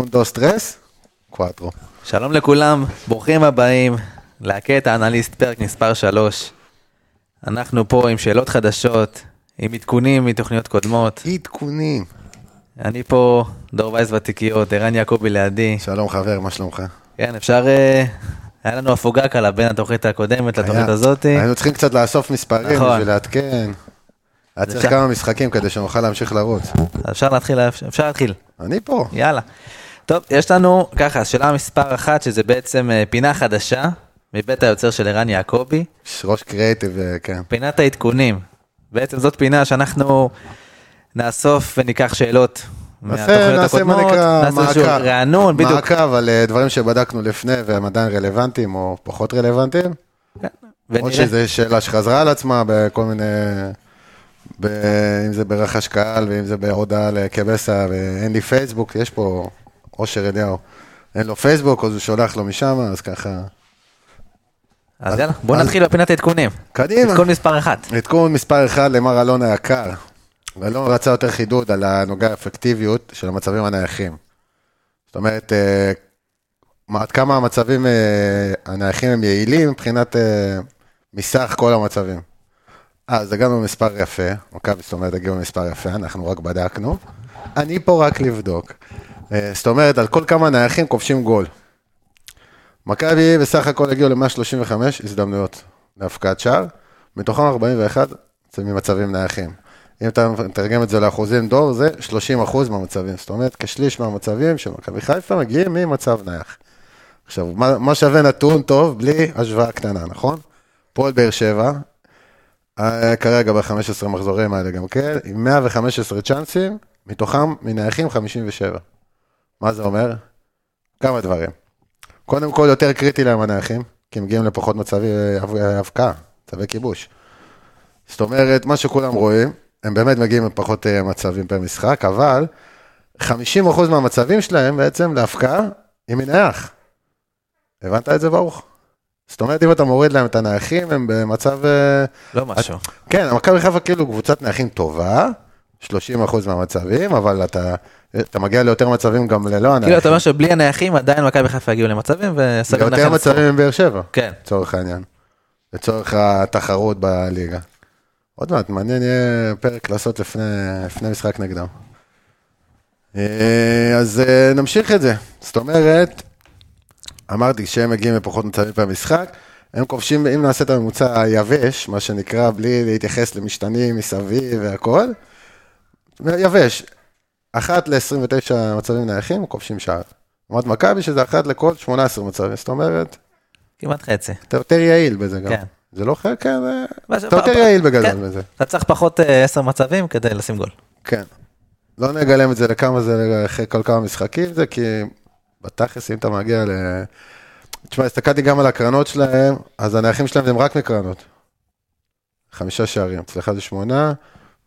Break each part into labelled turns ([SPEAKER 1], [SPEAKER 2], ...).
[SPEAKER 1] 1, 2, 3, קואטרו.
[SPEAKER 2] שלום לכולם, ברוכים הבאים להקט האנליסט, פרק מספר 3. אנחנו פה עם שאלות חדשות, עם עדכונים מתוכניות קודמות.
[SPEAKER 1] עדכונים.
[SPEAKER 2] אני פה, דור וייס ותיקיות, ערן יעקבי לידי.
[SPEAKER 1] שלום חבר, מה שלומך?
[SPEAKER 2] כן, אפשר... אה, היה לנו הפוגה קלה בין התוכנית הקודמת לתוכנית
[SPEAKER 1] היה-
[SPEAKER 2] הזאת.
[SPEAKER 1] היינו צריכים קצת לאסוף מספרים
[SPEAKER 2] נכון.
[SPEAKER 1] בשביל לעדכן. היה צריך
[SPEAKER 2] אפשר-
[SPEAKER 1] כמה משחקים כדי שנוכל להמשיך לרוץ.
[SPEAKER 2] אז אפשר להתחיל, אפשר להתחיל.
[SPEAKER 1] אני פה.
[SPEAKER 2] יאללה. טוב, יש לנו ככה, שאלה מספר אחת, שזה בעצם אה, פינה חדשה מבית היוצר של ערן יעקבי,
[SPEAKER 1] יש ראש קריאיטיב, אה, כן.
[SPEAKER 2] פינת העדכונים. בעצם זאת פינה שאנחנו נאסוף וניקח שאלות
[SPEAKER 1] נעשה
[SPEAKER 2] מהתוכניות
[SPEAKER 1] נעשה מה
[SPEAKER 2] הקודמות,
[SPEAKER 1] נקרא
[SPEAKER 2] נעשה איזשהו
[SPEAKER 1] מעקב.
[SPEAKER 2] רענון, בדיוק.
[SPEAKER 1] מעקב על אה, דברים שבדקנו לפני והם עדיין רלוונטיים או פחות רלוונטיים. או
[SPEAKER 2] ונראה.
[SPEAKER 1] שזו שאלה שחזרה על עצמה בכל מיני... ב... אם זה ברכש קהל, ואם זה בהודעה לקבסה, ואין לי פייסבוק, יש פה אושר אליהו. אין לו פייסבוק, אז הוא שולח לו משם, אז ככה...
[SPEAKER 2] אז יאללה, בואו
[SPEAKER 1] אז-
[SPEAKER 2] נתחיל בפינת העדכונים.
[SPEAKER 1] קדימה.
[SPEAKER 2] עדכון מספר אחת.
[SPEAKER 1] עדכון מספר 1 למר אלון היקר. אלון רצה יותר חידוד על הנוגע לאפקטיביות של המצבים הנייחים. זאת אומרת, אה, מה- עד כמה המצבים אה, הנייחים הם יעילים מבחינת אה, מסך כל המצבים. אה, אז הגענו למספר יפה, מכבי זאת אומרת הגיעו למספר יפה, אנחנו רק בדקנו. אני פה רק לבדוק. אה, זאת אומרת, על כל כמה נייחים כובשים גול. מכבי בסך הכל הגיעו ל-135 הזדמנויות להפקעת שער, מתוכם 41 זה ממצבים נייחים. אם אתה מתרגם את זה לאחוזים דור, זה 30 אחוז מהמצבים. זאת אומרת, כשליש מהמצבים של מכבי חיפה מגיעים ממצב נייח. עכשיו, מה, מה שווה נתון טוב בלי השוואה קטנה, נכון? פועל באר שבע, אה, כרגע ב-15 מחזורים האלה גם כן, עם 115 צ'אנסים, מתוכם מנייחים 57. מה זה אומר? כמה דברים. קודם כל, יותר קריטי להם הנייחים, כי הם מגיעים לפחות מצבי אה, הבקעה, מצבי כיבוש. זאת אומרת, מה שכולם רואים, הם באמת מגיעים לפחות אה, מצבים פר משחק, אבל 50% מהמצבים שלהם בעצם להפקעה עם מנייח. הבנת את זה, ברוך? זאת אומרת, אם אתה מוריד להם את הנייחים, הם במצב... אה,
[SPEAKER 2] לא משהו.
[SPEAKER 1] כן, מכבי חיפה כאילו קבוצת נייחים טובה, 30% מהמצבים, אבל אתה, אתה מגיע ליותר מצבים גם ללא הנייחים.
[SPEAKER 2] כאילו, אתה אומר שבלי הנייחים עדיין מכבי חיפה יגיעו למצבים, וסביר
[SPEAKER 1] יותר מצבים מבאר שבע.
[SPEAKER 2] כן.
[SPEAKER 1] לצורך העניין, לצורך התחרות בליגה. עוד מעט, מעניין יהיה פרק לעשות לפני, לפני משחק נגדם. אה, אז אה, נמשיך את זה. זאת אומרת, אמרתי, כשהם מגיעים לפחות מצבים במשחק, הם כובשים, אם נעשה את הממוצע היבש, מה שנקרא, בלי להתייחס למשתנים מסביב והכל, יבש, אחת ל-29 מצבים נייחים, כובשים שער. לעומת מכבי שזה אחת לכל 18 מצבים, זאת אומרת,
[SPEAKER 2] כמעט חצי.
[SPEAKER 1] אתה יותר יעיל בזה גם.
[SPEAKER 2] כן.
[SPEAKER 1] זה לא חלק, כן, זה-
[SPEAKER 2] מה ש-
[SPEAKER 1] אתה יותר
[SPEAKER 2] פ-
[SPEAKER 1] יעיל בגדול
[SPEAKER 2] כן.
[SPEAKER 1] בזה.
[SPEAKER 2] אתה צריך פחות אה, עשר מצבים כדי לשים גול.
[SPEAKER 1] כן. לא נגלם את זה לכמה זה אחרי כל כמה משחקים זה, כי בתכלס אם אתה מגיע ל... תשמע, הסתכלתי גם על הקרנות שלהם, אז הנייחים שלהם הם רק מקרנות. חמישה שערים, אצלך זה שמונה,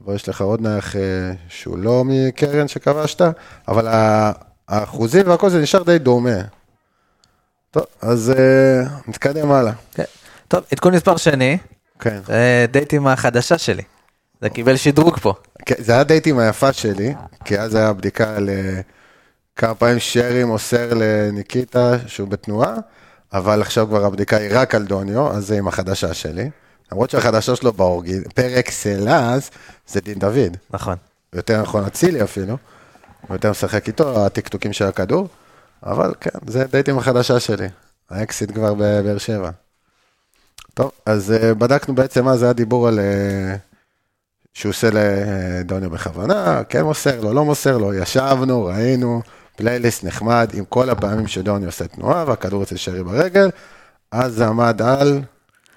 [SPEAKER 1] ויש לך עוד נייח אה, שהוא לא מקרן שכבשת, אבל ה- האחוזים והכל זה נשאר די דומה. טוב, אז אה, נתקדם הלאה.
[SPEAKER 2] טוב, עדכון מספר שני,
[SPEAKER 1] כן.
[SPEAKER 2] אה, דייטים החדשה שלי. זה קיבל שדרוג פה.
[SPEAKER 1] כן, זה היה דייטים היפה שלי, כי אז היה בדיקה על אה, כמה פעמים שרי מוסר לניקיטה שהוא בתנועה, אבל עכשיו כבר הבדיקה היא רק על דוניו, אז זה עם החדשה שלי. למרות שהחדשה שלו באורגי, פר אקסלנס, זה דין דוד.
[SPEAKER 2] נכון.
[SPEAKER 1] יותר נכון אצילי אפילו, הוא יותר משחק איתו, הטקטוקים של הכדור, אבל כן, זה דייטים החדשה שלי, האקסיט כבר בבאר שבע. טוב, אז אה, בדקנו בעצם מה זה היה דיבור על... אה, שהוא עושה לדוניו בכוונה, כן מוסר לו, לא מוסר לו, ישבנו, ראינו, פלייליסט נחמד עם כל הפעמים שדוניו עושה תנועה והכדור אצל שרי ברגל, אז זה עמד על,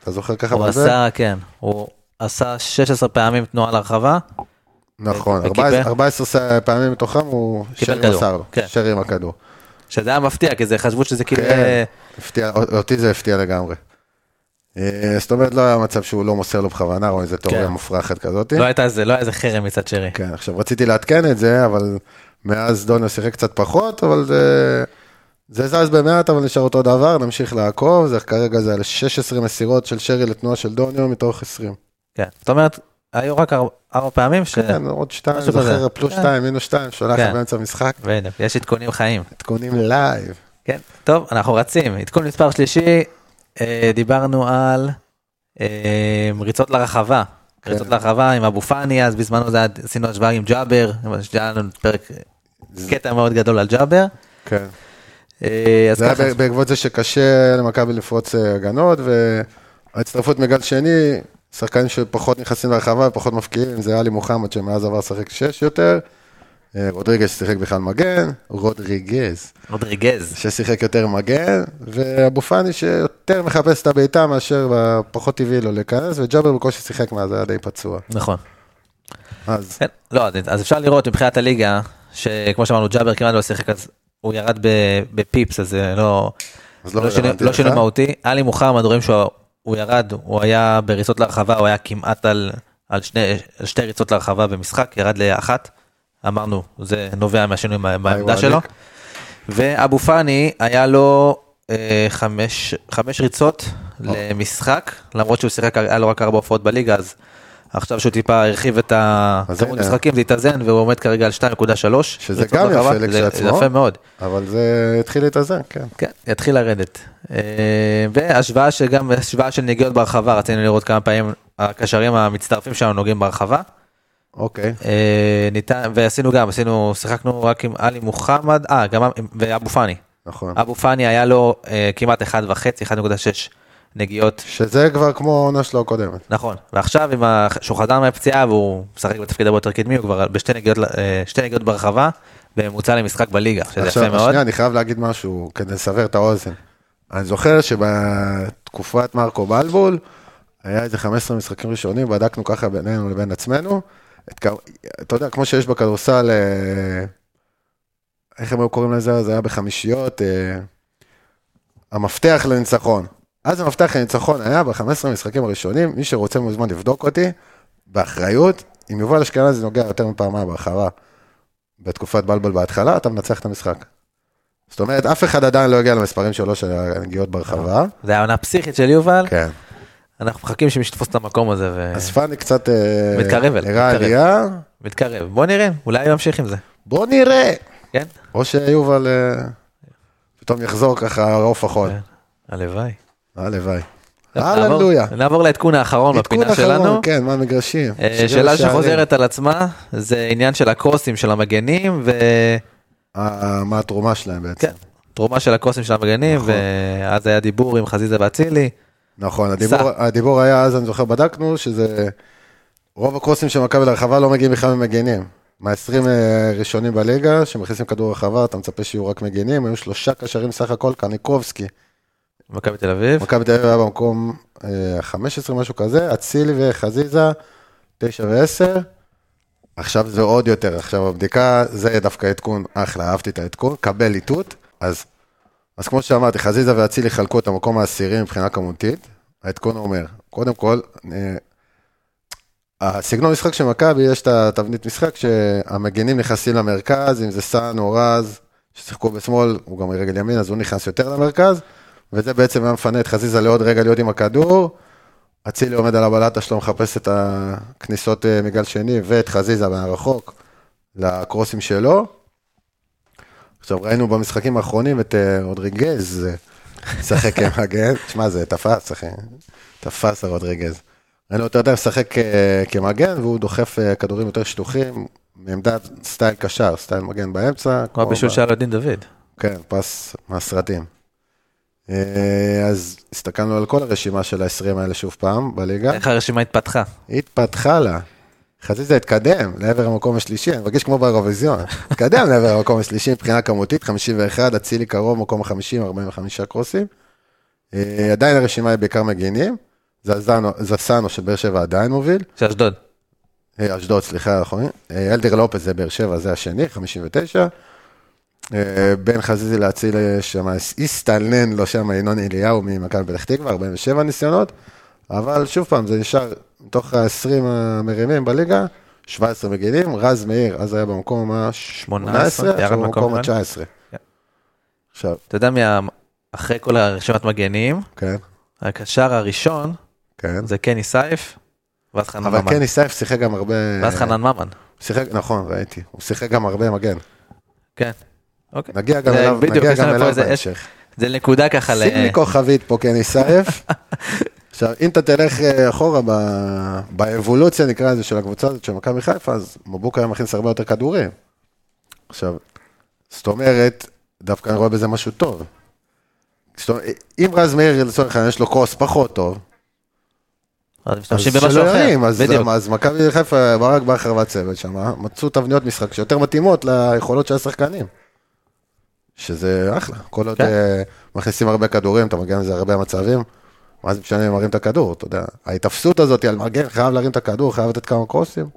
[SPEAKER 1] אתה זוכר ככה?
[SPEAKER 2] הוא
[SPEAKER 1] בזה?
[SPEAKER 2] עשה, כן, הוא עשה 16 פעמים תנועה לרחבה,
[SPEAKER 1] נכון,
[SPEAKER 2] וקיבל-
[SPEAKER 1] 14 14 ס- פעמים מתוכם הוא
[SPEAKER 2] קיבל
[SPEAKER 1] שרי
[SPEAKER 2] כדור,
[SPEAKER 1] מסר לו,
[SPEAKER 2] כן.
[SPEAKER 1] שרי עם הכדור.
[SPEAKER 2] שזה היה מפתיע, כי זה חשבו שזה כאילו...
[SPEAKER 1] כן,
[SPEAKER 2] אה,
[SPEAKER 1] הפתיע, אותי זה הפתיע לגמרי. אה, זאת אומרת, לא היה מצב שהוא לא מוסר לו בכוונה, או איזה תיאוריה
[SPEAKER 2] כן.
[SPEAKER 1] מופרכת כזאת.
[SPEAKER 2] לא הייתה איזה, לא היה איזה חרם מצד שרי.
[SPEAKER 1] כן, עכשיו רציתי לעדכן את זה, אבל מאז דוניו שיחק קצת פחות, אבל זה... זה זז במעט, אבל נשאר אותו דבר, נמשיך לעקוב, זה כרגע זה על 16 מסירות של שרי לתנועה של דוניו מתוך 20.
[SPEAKER 2] כן. זאת אומרת, היו רק ארבע- ארבע פעמים ש...
[SPEAKER 1] כן, עוד שתיים,
[SPEAKER 2] משהו
[SPEAKER 1] זוכר,
[SPEAKER 2] כזה.
[SPEAKER 1] פלוס
[SPEAKER 2] כן.
[SPEAKER 1] שתיים, מינוס שתיים, שולח
[SPEAKER 2] כן.
[SPEAKER 1] באמצע המשחק,
[SPEAKER 2] בדיוק, יש עדכונים חיים.
[SPEAKER 1] עדכונים לייב.
[SPEAKER 2] כן, טוב, אנחנו רצים. עדכון מספר שלישי, אה, דיברנו על אה, ריצות לרחבה.
[SPEAKER 1] כן.
[SPEAKER 2] ריצות לרחבה עם אבו פאני, אז בזמנו זה היה- עשינו השוואה עם ג'אבר, שהיה לנו פרק, קטע מאוד גדול על ג'אבר.
[SPEAKER 1] כן.
[SPEAKER 2] אה, אז
[SPEAKER 1] זה היה
[SPEAKER 2] ככה,
[SPEAKER 1] ב- בעקבות זה שקשה למכבי לפרוץ אה, הגנות, וההצטרפות מגל שני, שחקנים שפחות נכנסים לרחבה ופחות מפקיעים, זה עלי מוחמד שמאז עבר לשחק שש יותר, אה, רודריגז ששיחק בכלל מגן, רודריגז
[SPEAKER 2] רודריגז.
[SPEAKER 1] ששיחק יותר מגן, ואבו פאני שיותר מחפש את הבעיטה מאשר ב- פחות טבעי לו להיכנס, וג'אבר בקושי שיחק מאז, היה די פצוע.
[SPEAKER 2] נכון.
[SPEAKER 1] אז
[SPEAKER 2] כן, לא, אז- אז אפשר לראות מבחינת הליגה, שכמו שאמרנו, ג'אבר כמעט לא שיחק, אז הוא ירד ב- בפיפס, אז זה לא...
[SPEAKER 1] אז לא
[SPEAKER 2] לא שינוי-
[SPEAKER 1] רלוונטי
[SPEAKER 2] לא
[SPEAKER 1] לך.
[SPEAKER 2] שינוי מהותי. עלי מוחמד, רואים שהוא הוא ירד, הוא היה בריצות להרחבה, הוא היה כמעט על, על שני, על שתי ריצות להרחבה במשחק, ירד לאחת. אמרנו, זה נובע מהשינוי מה- מהעמדה
[SPEAKER 1] וואליק.
[SPEAKER 2] שלו. ואבו פאני, היה לו אה, חמש, חמש ריצות למשחק, למרות שהוא שיחק, היה לו רק ארבע הופעות בליגה, אז עכשיו שהוא טיפה הרחיב את
[SPEAKER 1] אז
[SPEAKER 2] הכמות
[SPEAKER 1] הנה.
[SPEAKER 2] משחקים, זה התאזן, והוא עומד כרגע על 2.3.
[SPEAKER 1] שזה
[SPEAKER 2] ריצות
[SPEAKER 1] גם יפה
[SPEAKER 2] להרחבה. זה-
[SPEAKER 1] לכשעצמו.
[SPEAKER 2] זה יפה מאוד.
[SPEAKER 1] אבל זה התחיל להתאזן, כן.
[SPEAKER 2] כן, יתחיל לרדת. אה, והשוואה שגם, השוואה של נגיעות ברחבה, רצינו לראות כמה פעמים הקשרים המצטרפים שלנו נוגעים ברחבה.
[SPEAKER 1] אוקיי.
[SPEAKER 2] אה, ניתן, ועשינו גם, עשינו, שיחקנו רק עם עלי מוחמד, אה, גם עם- ואבו פאני.
[SPEAKER 1] נכון.
[SPEAKER 2] אבו פאני היה לו אה, כמעט 1.5, 1.6 נגיעות,
[SPEAKER 1] שזה כבר כמו לא העונה שלו הקודמת.
[SPEAKER 2] נכון. ועכשיו, עם ה- שהוא חזר מהפציעה והוא משחק בתפקיד הרבה יותר קדמי, הוא כבר בשתי נגיעות, ל- אה, שתי נגיעות ברחבה, בממוצע למשחק בליגה, שזה
[SPEAKER 1] עכשיו,
[SPEAKER 2] יפה מאוד.
[SPEAKER 1] שנייה, אני חייב להגיד משהו כדי לסבר את האוזן. אני זוכר שבתקופת מרקו בלבול, היה איזה 15 משחקים ראשונים, בדקנו ככה בינינו לבין עצמנו. את, כ- אתה יודע, כמו שיש בכדורסל, אה, איך הם היו קוראים לזה? זה היה בחמישיות, אה, המפתח לניצחון. אז המפתח לניצחון היה ב-15 המשחקים הראשונים, מי שרוצה מוזמן לבדוק אותי, באחריות, אם יובל אשכנזי נוגע יותר מפעמיים בהרחבה. בתקופת בלבול בהתחלה, אתה מנצח את המשחק. זאת אומרת, אף אחד עדיין לא הגיע למספרים שלו של הנגיעות ברחבה.
[SPEAKER 2] זה היה עונה פסיכית של יובל,
[SPEAKER 1] כן.
[SPEAKER 2] אנחנו מחכים שמישהו יתפוס את המקום הזה. ו...
[SPEAKER 1] אז פאני קצת... אה,
[SPEAKER 2] מתקרב אליי,
[SPEAKER 1] הראה
[SPEAKER 2] מתקרב.
[SPEAKER 1] עלייה,
[SPEAKER 2] מתקרב. בוא נראה, אולי הוא ימשיך עם זה,
[SPEAKER 1] בוא נראה.
[SPEAKER 2] כן?
[SPEAKER 1] או שיובל אה, פתאום יחזור ככה רעוף החול.
[SPEAKER 2] כן. הלוואי. אה.
[SPEAKER 1] הלוואי.
[SPEAKER 2] נעבור-
[SPEAKER 1] הללויה.
[SPEAKER 2] נעבור לעדכון האחרון בפינה שלנו.
[SPEAKER 1] כן, מה מגרשים?
[SPEAKER 2] אה,
[SPEAKER 1] שגר
[SPEAKER 2] שאלה
[SPEAKER 1] שערים.
[SPEAKER 2] שחוזרת על עצמה, זה עניין של הקרוסים של המגנים,
[SPEAKER 1] אה, מה התרומה שלהם
[SPEAKER 2] כן,
[SPEAKER 1] בעצם?
[SPEAKER 2] ותרומה של הקרוסים של המגנים,
[SPEAKER 1] נכון.
[SPEAKER 2] ואז היה דיבור עם חזיזה ואצילי.
[SPEAKER 1] נכון, הדיבור, הדיבור היה, אז אני זוכר, בדקנו, שזה... רוב הקרוסים של מכבי לרחבה לא מגיעים בכלל ממגנים. מה-20 אה, ראשונים בליגה, שמכניסים כדור רחבה, אתה מצפה שיהיו רק מגנים, היו שלושה קשרים סך הכל, קניקובסקי.
[SPEAKER 2] מכבי תל אביב,
[SPEAKER 1] מכבי תל אביב היה במקום ה-15, משהו כזה, אצילי וחזיזה, 9 ו-10. עכשיו זה עוד יותר, עכשיו הבדיקה, זה דווקא עדכון, אחלה, אהבתי את העדכון, קבל איתות. אז, אז כמו שאמרתי, חזיזה ואצילי חלקו את המקום העשירי מבחינה כמותית. העדכון אומר, קודם כל, אה, הסגנון משחק של מכבי, יש את התבנית משחק שהמגנים נכנסים למרכז, אם זה סאן או רז, ששיחקו בשמאל, הוא גם רגל ימין, אז הוא נכנס יותר למרכז, וזה בעצם היה מפנה את חזיזה לעוד רגע להיות עם הכדור. אצילי עומד על הבלטה שלו, מחפש את הכניסות אה, מגל שני ואת חזיזה מהרחוק לקרוסים שלו. עכשיו ראינו במשחקים האחרונים את אה, רודריגז אה, משחק כמגן, תשמע זה תפס, אחי, תפס הרודריגז. ראינו אותו יותר משחק אה, כמגן והוא דוחף אה, כדורים יותר שטוחים, מעמדת סטייל קשר, סטייל מגן באמצע.
[SPEAKER 2] כמו הבישול
[SPEAKER 1] ב-
[SPEAKER 2] של אלודין דוד.
[SPEAKER 1] נכון, כן, פס מהסרטים. אה, אז הסתכלנו על כל הרשימה של ה-20 האלה שוב פעם בליגה.
[SPEAKER 2] איך הרשימה התפתחה?
[SPEAKER 1] התפתחה לה. חזיזה התקדם לעבר המקום השלישי, אני מרגיש כמו באירוויזיון. התקדם לעבר המקום השלישי מבחינה כמותית, 51, אצילי קרוב, מקום ה-50, 45 קרוסים. אה, עדיין הרשימה היא בעיקר מגינים. זזנו- זסנו של באר שבע עדיין מוביל.
[SPEAKER 2] של אשדוד.
[SPEAKER 1] אה, אשדוד, סליחה, נכון? אה, אלדר לופס זה באר שבע, זה השני, 59. אה, בן חזיזי להציל אה, שם, הסתנן לו שם ינון אליהו ממכבי פתח תקווה, 47 ניסיונות, אבל שוב פעם, זה נשאר מתוך ה-20 המרימים בליגה, 17 מגינים, רז מאיר, אז היה במקום ה-18,
[SPEAKER 2] 18, ירד
[SPEAKER 1] עכשיו הוא במקום
[SPEAKER 2] מקום אחד.
[SPEAKER 1] ה-19.
[SPEAKER 2] כן.
[SPEAKER 1] עכשיו,
[SPEAKER 2] אתה יודע מי ה... אחרי כל הרשימת מגנים,
[SPEAKER 1] כן,
[SPEAKER 2] הקשר הראשון
[SPEAKER 1] כן,
[SPEAKER 2] זה קני סייף, ואז חנן
[SPEAKER 1] אבל
[SPEAKER 2] ממן.
[SPEAKER 1] כן, ניסייף שיחק גם הרבה...
[SPEAKER 2] ואז חנן ממן.
[SPEAKER 1] שיחק, נכון, ראיתי. הוא שיחק גם הרבה מגן.
[SPEAKER 2] כן. אוקיי.
[SPEAKER 1] נגיע גם
[SPEAKER 2] זה
[SPEAKER 1] אליו,
[SPEAKER 2] בדיוק,
[SPEAKER 1] נגיע
[SPEAKER 2] יש
[SPEAKER 1] גם
[SPEAKER 2] לנו פה
[SPEAKER 1] אליו
[SPEAKER 2] איזה
[SPEAKER 1] בהמשך.
[SPEAKER 2] זה נקודה ככה ל...
[SPEAKER 1] שים לי כוכבית פה, כן, ניסייף. עכשיו, אם אתה תלך אה, אחורה ב- באבולוציה, נקרא לזה, של הקבוצה הזאת, של מכבי חיפה, אז מבוקה היה מכניס הרבה יותר כדורים. עכשיו, זאת אומרת, דווקא אני רואה בזה משהו טוב. זאת אומרת, אם רז מאיר, לצורך העניין, יש לו קרוס פחות טוב,
[SPEAKER 2] אז
[SPEAKER 1] אז
[SPEAKER 2] אה, משתמשים במשהו
[SPEAKER 1] שלא
[SPEAKER 2] אחר.
[SPEAKER 1] ירים, אז-
[SPEAKER 2] בדיוק.
[SPEAKER 1] אז מכבי חיפה, ברק בכר והצוות שם, אה? מצאו תבניות משחק שיותר מתאימות ליכולות של השחקנים. שזה אחלה, כל עוד
[SPEAKER 2] כן.
[SPEAKER 1] אה, מכניסים הרבה כדורים, אתה מגיע מזה הרבה מצבים, מה זה משנה אם מרים את הכדור, אתה יודע, ההתאפסות הזאת על מגן, חייב להרים את הכדור, חייב לתת כמה קרוסים.
[SPEAKER 2] לא,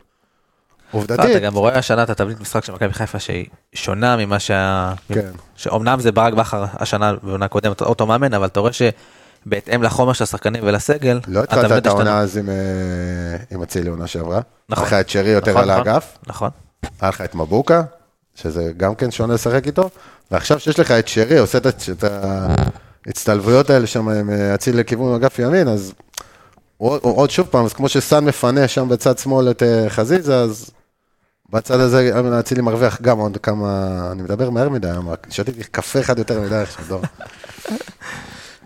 [SPEAKER 2] אתה
[SPEAKER 1] עובדתית,
[SPEAKER 2] גם רואה השנה את התבנית משחק של מכבי חיפה שהיא שונה ממה שה...
[SPEAKER 1] כן.
[SPEAKER 2] שאומנם זה ברק בכר השנה בעונה קודמת אותו מאמן אבל אתה רואה שבהתאם לחומר של השחקנים ולסגל.
[SPEAKER 1] לא התחלת
[SPEAKER 2] התבנית
[SPEAKER 1] את העונה
[SPEAKER 2] השתנתה.
[SPEAKER 1] אז עם, אה, עם אצילי עונה שעברה.
[SPEAKER 2] נכון.
[SPEAKER 1] נכון. היה לך את שרי יותר
[SPEAKER 2] נכון,
[SPEAKER 1] על
[SPEAKER 2] נכון.
[SPEAKER 1] האגף,
[SPEAKER 2] נכון.
[SPEAKER 1] היה לך את מבוקה, שזה גם כן שונה לשחק איתו, ועכשיו שיש לך את שרי, עושה את ה- את ההצטלבויות האלה שם עם אה, אציל לכיוון אגף ימין, אז הוא עוד- הוא עוד שוב פעם, אז כמו שסאן מפנה שם בצד שמאל את אה, חזיזה, אז בצד הזה אה, אצילי מרוויח גם עוד כמה, אני מדבר מהר מדי, היום, רק שתיתי קפה אחד יותר מדי עכשיו, דור.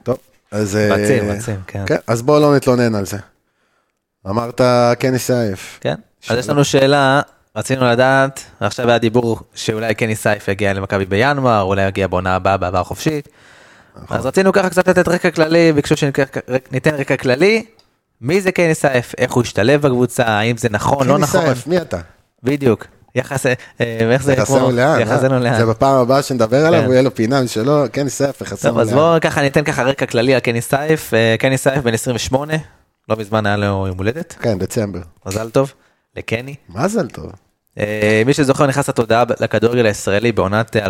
[SPEAKER 1] טוב, אז... אה,
[SPEAKER 2] רצים, רצים, כן.
[SPEAKER 1] כן, אז בואו לא נתלונן על זה. אמרת כן ניסייף.
[SPEAKER 2] כן. אז
[SPEAKER 1] שאלה.
[SPEAKER 2] יש לנו שאלה רצינו לדעת עכשיו היה דיבור שאולי קני סייף יגיע למכבי בינואר אולי יגיע בעונה הבאה בעבר החופשית.
[SPEAKER 1] נכון.
[SPEAKER 2] אז רצינו ככה קצת לתת רקע כללי ביקשו שניתן רקע כללי. מי זה קני סייף איך הוא השתלב בקבוצה האם זה נכון לא
[SPEAKER 1] כן
[SPEAKER 2] נכון.
[SPEAKER 1] ניסייף, מי אתה?
[SPEAKER 2] בדיוק. יחס, אה, איך זה,
[SPEAKER 1] יחסנו
[SPEAKER 2] כמו-
[SPEAKER 1] לאן,
[SPEAKER 2] יחסנו
[SPEAKER 1] אה?
[SPEAKER 2] לאן.
[SPEAKER 1] זה בפעם הבאה שנדבר עליו,
[SPEAKER 2] כן.
[SPEAKER 1] הוא יהיה לו פינה משלו, כן, סייף,
[SPEAKER 2] טוב,
[SPEAKER 1] יחסנו
[SPEAKER 2] אז
[SPEAKER 1] לאן.
[SPEAKER 2] בואו ככה ניתן ככה רקע כללי על קני סייף. אה, קני סייף בן 28, לא מזמן היה לו יום הולדת,
[SPEAKER 1] כן, דצמבר.
[SPEAKER 2] מזל טוב לקני.
[SPEAKER 1] מזל טוב.
[SPEAKER 2] אה, מי שזוכר נכנס לתודעה ב- לכדורגל הישראלי בעונת אה, 2013-2014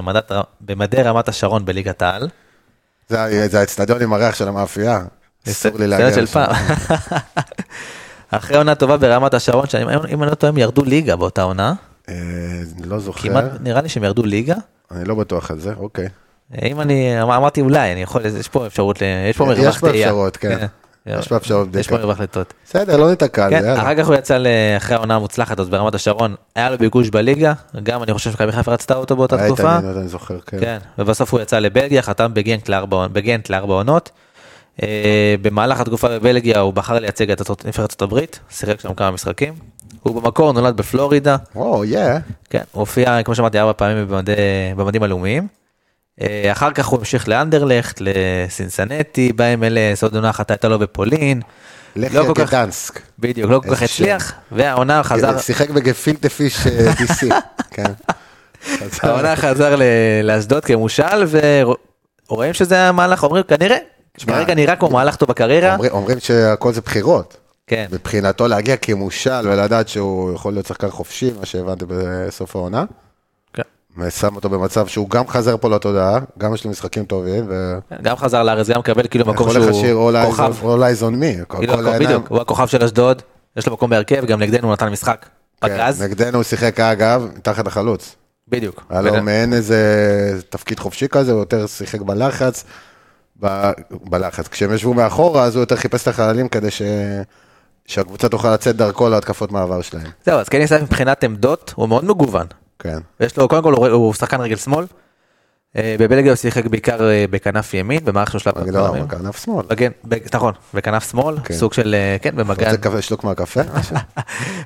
[SPEAKER 2] במדד ר- במדי רמת השרון בליגת העל.
[SPEAKER 1] זה ה- זה האצטדיון עם הריח של המאפייה. אסור לי להגיע
[SPEAKER 2] סרט של
[SPEAKER 1] לשם.
[SPEAKER 2] פעם. אחרי עונה טובה ברמת השרון, שאם אני לא טועה הם ירדו ליגה באותה עונה,
[SPEAKER 1] אה, אני לא זוכר,
[SPEAKER 2] כמעט נראה לי שהם ירדו ליגה. אה,
[SPEAKER 1] אני לא בטוח על זה, אוקיי.
[SPEAKER 2] אם אני אמר- אמרתי אולי אני יכול יש פה אפשרות ל... יש פה
[SPEAKER 1] יש
[SPEAKER 2] מרווח
[SPEAKER 1] פה
[SPEAKER 2] תהייה.
[SPEAKER 1] אפשרות, כן. יש פה אפשרות
[SPEAKER 2] יש פה
[SPEAKER 1] בדיקה.
[SPEAKER 2] מרווח לטעות.
[SPEAKER 1] בסדר, לא ניתקע על זה,
[SPEAKER 2] כן,
[SPEAKER 1] יאללה.
[SPEAKER 2] אחר כך הוא יצא ל- אחרי העונה המוצלחת הזאת ברמת השרון היה לו ביקוש בליגה גם אני חושב שמכבי חיפה רצתה אותו באותה
[SPEAKER 1] ראית,
[SPEAKER 2] תקופה.
[SPEAKER 1] אני אני זוכר, כן.
[SPEAKER 2] כן, ובסוף הוא יצא לבלגיה, חתם בגנט לארבע, בגנט לארבע עונות. אה, במהלך התקופה בבלגיה הוא בחר לייצג את ארצות- נבחרת ארצות הברית, שיחק שם כמה משחקים. הוא במקור נולד בפלורידה,
[SPEAKER 1] וואו, יא.
[SPEAKER 2] כן, הוא הופיע, כמו שאמרתי, ארבע פעמים במדי- במדים הלאומיים. אה, אחר כך הוא המשיך לאנדרלכט, לסינסנטי, ב-MLS, עוד עונה אחת הייתה לו בפולין.
[SPEAKER 1] לך
[SPEAKER 2] לא כל כך-
[SPEAKER 1] לגדנסק.
[SPEAKER 2] בדיוק, לא כל כך
[SPEAKER 1] איזה שם.
[SPEAKER 2] הצליח, והעונה חזר,
[SPEAKER 1] שיחק בגפילטה פיש אה, DC. כן. חזר.
[SPEAKER 2] העונה חזר ל- לאשדוד כמושל, ורואים שזה היה מהלך, אומרים כנראה,
[SPEAKER 1] תשמע,
[SPEAKER 2] כרגע נראה כמו מהלך טוב בקריירה,
[SPEAKER 1] אומרים- אומרים שהכל זה בחירות.
[SPEAKER 2] כן,
[SPEAKER 1] מבחינתו להגיע כמושל ולדעת שהוא יכול להיות שחקן חופשי, מה שהבנתי בסוף העונה.
[SPEAKER 2] כן.
[SPEAKER 1] ושם אותו במצב שהוא גם חזר פה לתודעה, גם יש לו משחקים טובים, ויכול
[SPEAKER 2] גם חזר לארץ, גם מקבל כאילו מקום
[SPEAKER 1] לך שיר
[SPEAKER 2] שהוא
[SPEAKER 1] All Eyes
[SPEAKER 2] כוכב,
[SPEAKER 1] on- All Eyes on Me. כל-
[SPEAKER 2] כאילו
[SPEAKER 1] כל
[SPEAKER 2] הכל-
[SPEAKER 1] העיניים-
[SPEAKER 2] בדיוק, הוא הכוכב של אשדוד, יש לו מקום בהרכב, גם נגדנו הוא נתן משחק,
[SPEAKER 1] כן,
[SPEAKER 2] פגז,
[SPEAKER 1] נגדנו הוא שיחק אגב, מתחת לחלוץ.
[SPEAKER 2] בדיוק,
[SPEAKER 1] היה לו מעין איזה תפקיד חופשי כזה, הוא יותר שיחק בלחץ, ב- בלחץ. כשהם ישבו מאחורה, אז הוא יותר חיפש את החללים כדי ש- שהקבוצה תוכל לצאת דרכו להתקפות מעבר שלהם.
[SPEAKER 2] זהו, אז כן יסייף מבחינת עמדות, הוא מאוד מגוון,
[SPEAKER 1] כן.
[SPEAKER 2] יש לו, קודם כל הוא- הוא שחקן רגל שמאל, אה, בבלגיה הוא שיחק בעיקר אה, בכנף ימין, במערך של שלב
[SPEAKER 1] אני לא
[SPEAKER 2] הפעמים.
[SPEAKER 1] יודע, כנף שמאל.
[SPEAKER 2] בגן, בג- נכון, בכנף שמאל,
[SPEAKER 1] כן.
[SPEAKER 2] סוג של, אה, כן, נכון. במגן,
[SPEAKER 1] רוצה קפה, שלוק מהקפה? משהו?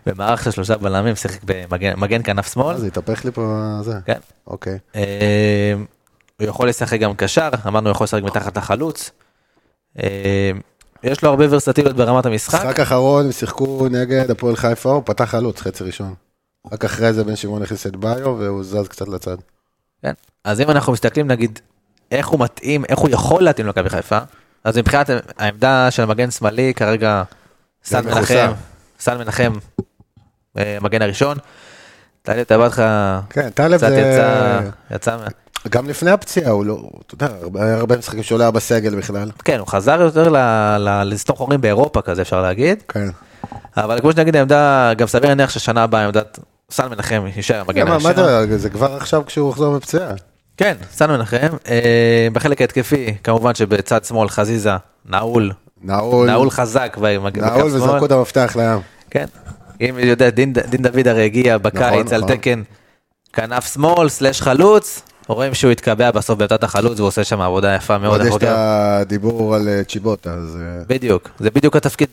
[SPEAKER 2] במערך של שלושה בלמים, שיחק במגן מגן כנף שמאל,
[SPEAKER 1] אה, זה התהפך לי פה, זה.
[SPEAKER 2] כן,
[SPEAKER 1] אוקיי.
[SPEAKER 2] אה, הוא יכול לשחק גם קשר, אמרנו הוא יכול לשחק מתחת לחלוץ. אה, יש לו הרבה ורסטיליות ברמת המשחק.
[SPEAKER 1] משחק אחרון, הם שיחקו נגד הפועל חיפה, הוא פתח חלוץ, חצי ראשון. רק אחרי זה בן שמעון הכניס את ביו, והוא זז קצת לצד.
[SPEAKER 2] כן. אז אם אנחנו מסתכלים נגיד איך הוא מתאים, איך הוא יכול להתאים למכבי חיפה, אז מבחינת העמדה של המגן שמאלי כרגע סל
[SPEAKER 1] מחוסר.
[SPEAKER 2] מנחם, סל מנחם, אה, המגן הראשון. טלי, אתה בא לך,
[SPEAKER 1] כן, טלב
[SPEAKER 2] קצת
[SPEAKER 1] זה...
[SPEAKER 2] יצא, יצא, מה-
[SPEAKER 1] גם לפני הפציעה, הוא לא... אתה יודע, הרבה- הרבה משחקים שהוא לא היה בסגל בכלל.
[SPEAKER 2] כן, הוא חזר יותר ל- ל- לסתום חורים באירופה כזה אפשר להגיד.
[SPEAKER 1] כן.
[SPEAKER 2] אבל כמו שנגיד העמדה, גם סביר להניח ששנה הבאה עמדת סל מנחם יישאר המגן
[SPEAKER 1] כן, מה- מה
[SPEAKER 2] הראשון.
[SPEAKER 1] זה, זה כבר עכשיו כשהוא יחזור מפציעה.
[SPEAKER 2] כן, סל מנחם. אה, בחלק ההתקפי, כמובן שבצד שמאל חזיזה נעול
[SPEAKER 1] נעול,
[SPEAKER 2] נעול חזק במג- בקו
[SPEAKER 1] נעול
[SPEAKER 2] שמאל.
[SPEAKER 1] וזרקו את המפתח לים.
[SPEAKER 2] כן. אם יודע, דין, דין דוד הרי הגיע בקיץ
[SPEAKER 1] נכון,
[SPEAKER 2] על
[SPEAKER 1] נכון.
[SPEAKER 2] תקן כנף שמאל, סלש חלוץ, רואים שהוא התקבע בסוף בעיטת החלוץ, והוא עושה שם עבודה יפה מאוד.
[SPEAKER 1] עוד יש את
[SPEAKER 2] החוקר.
[SPEAKER 1] הדיבור על אה, צ'יבוטה, אז אה,
[SPEAKER 2] בדיוק, זה בדיוק התפקיד,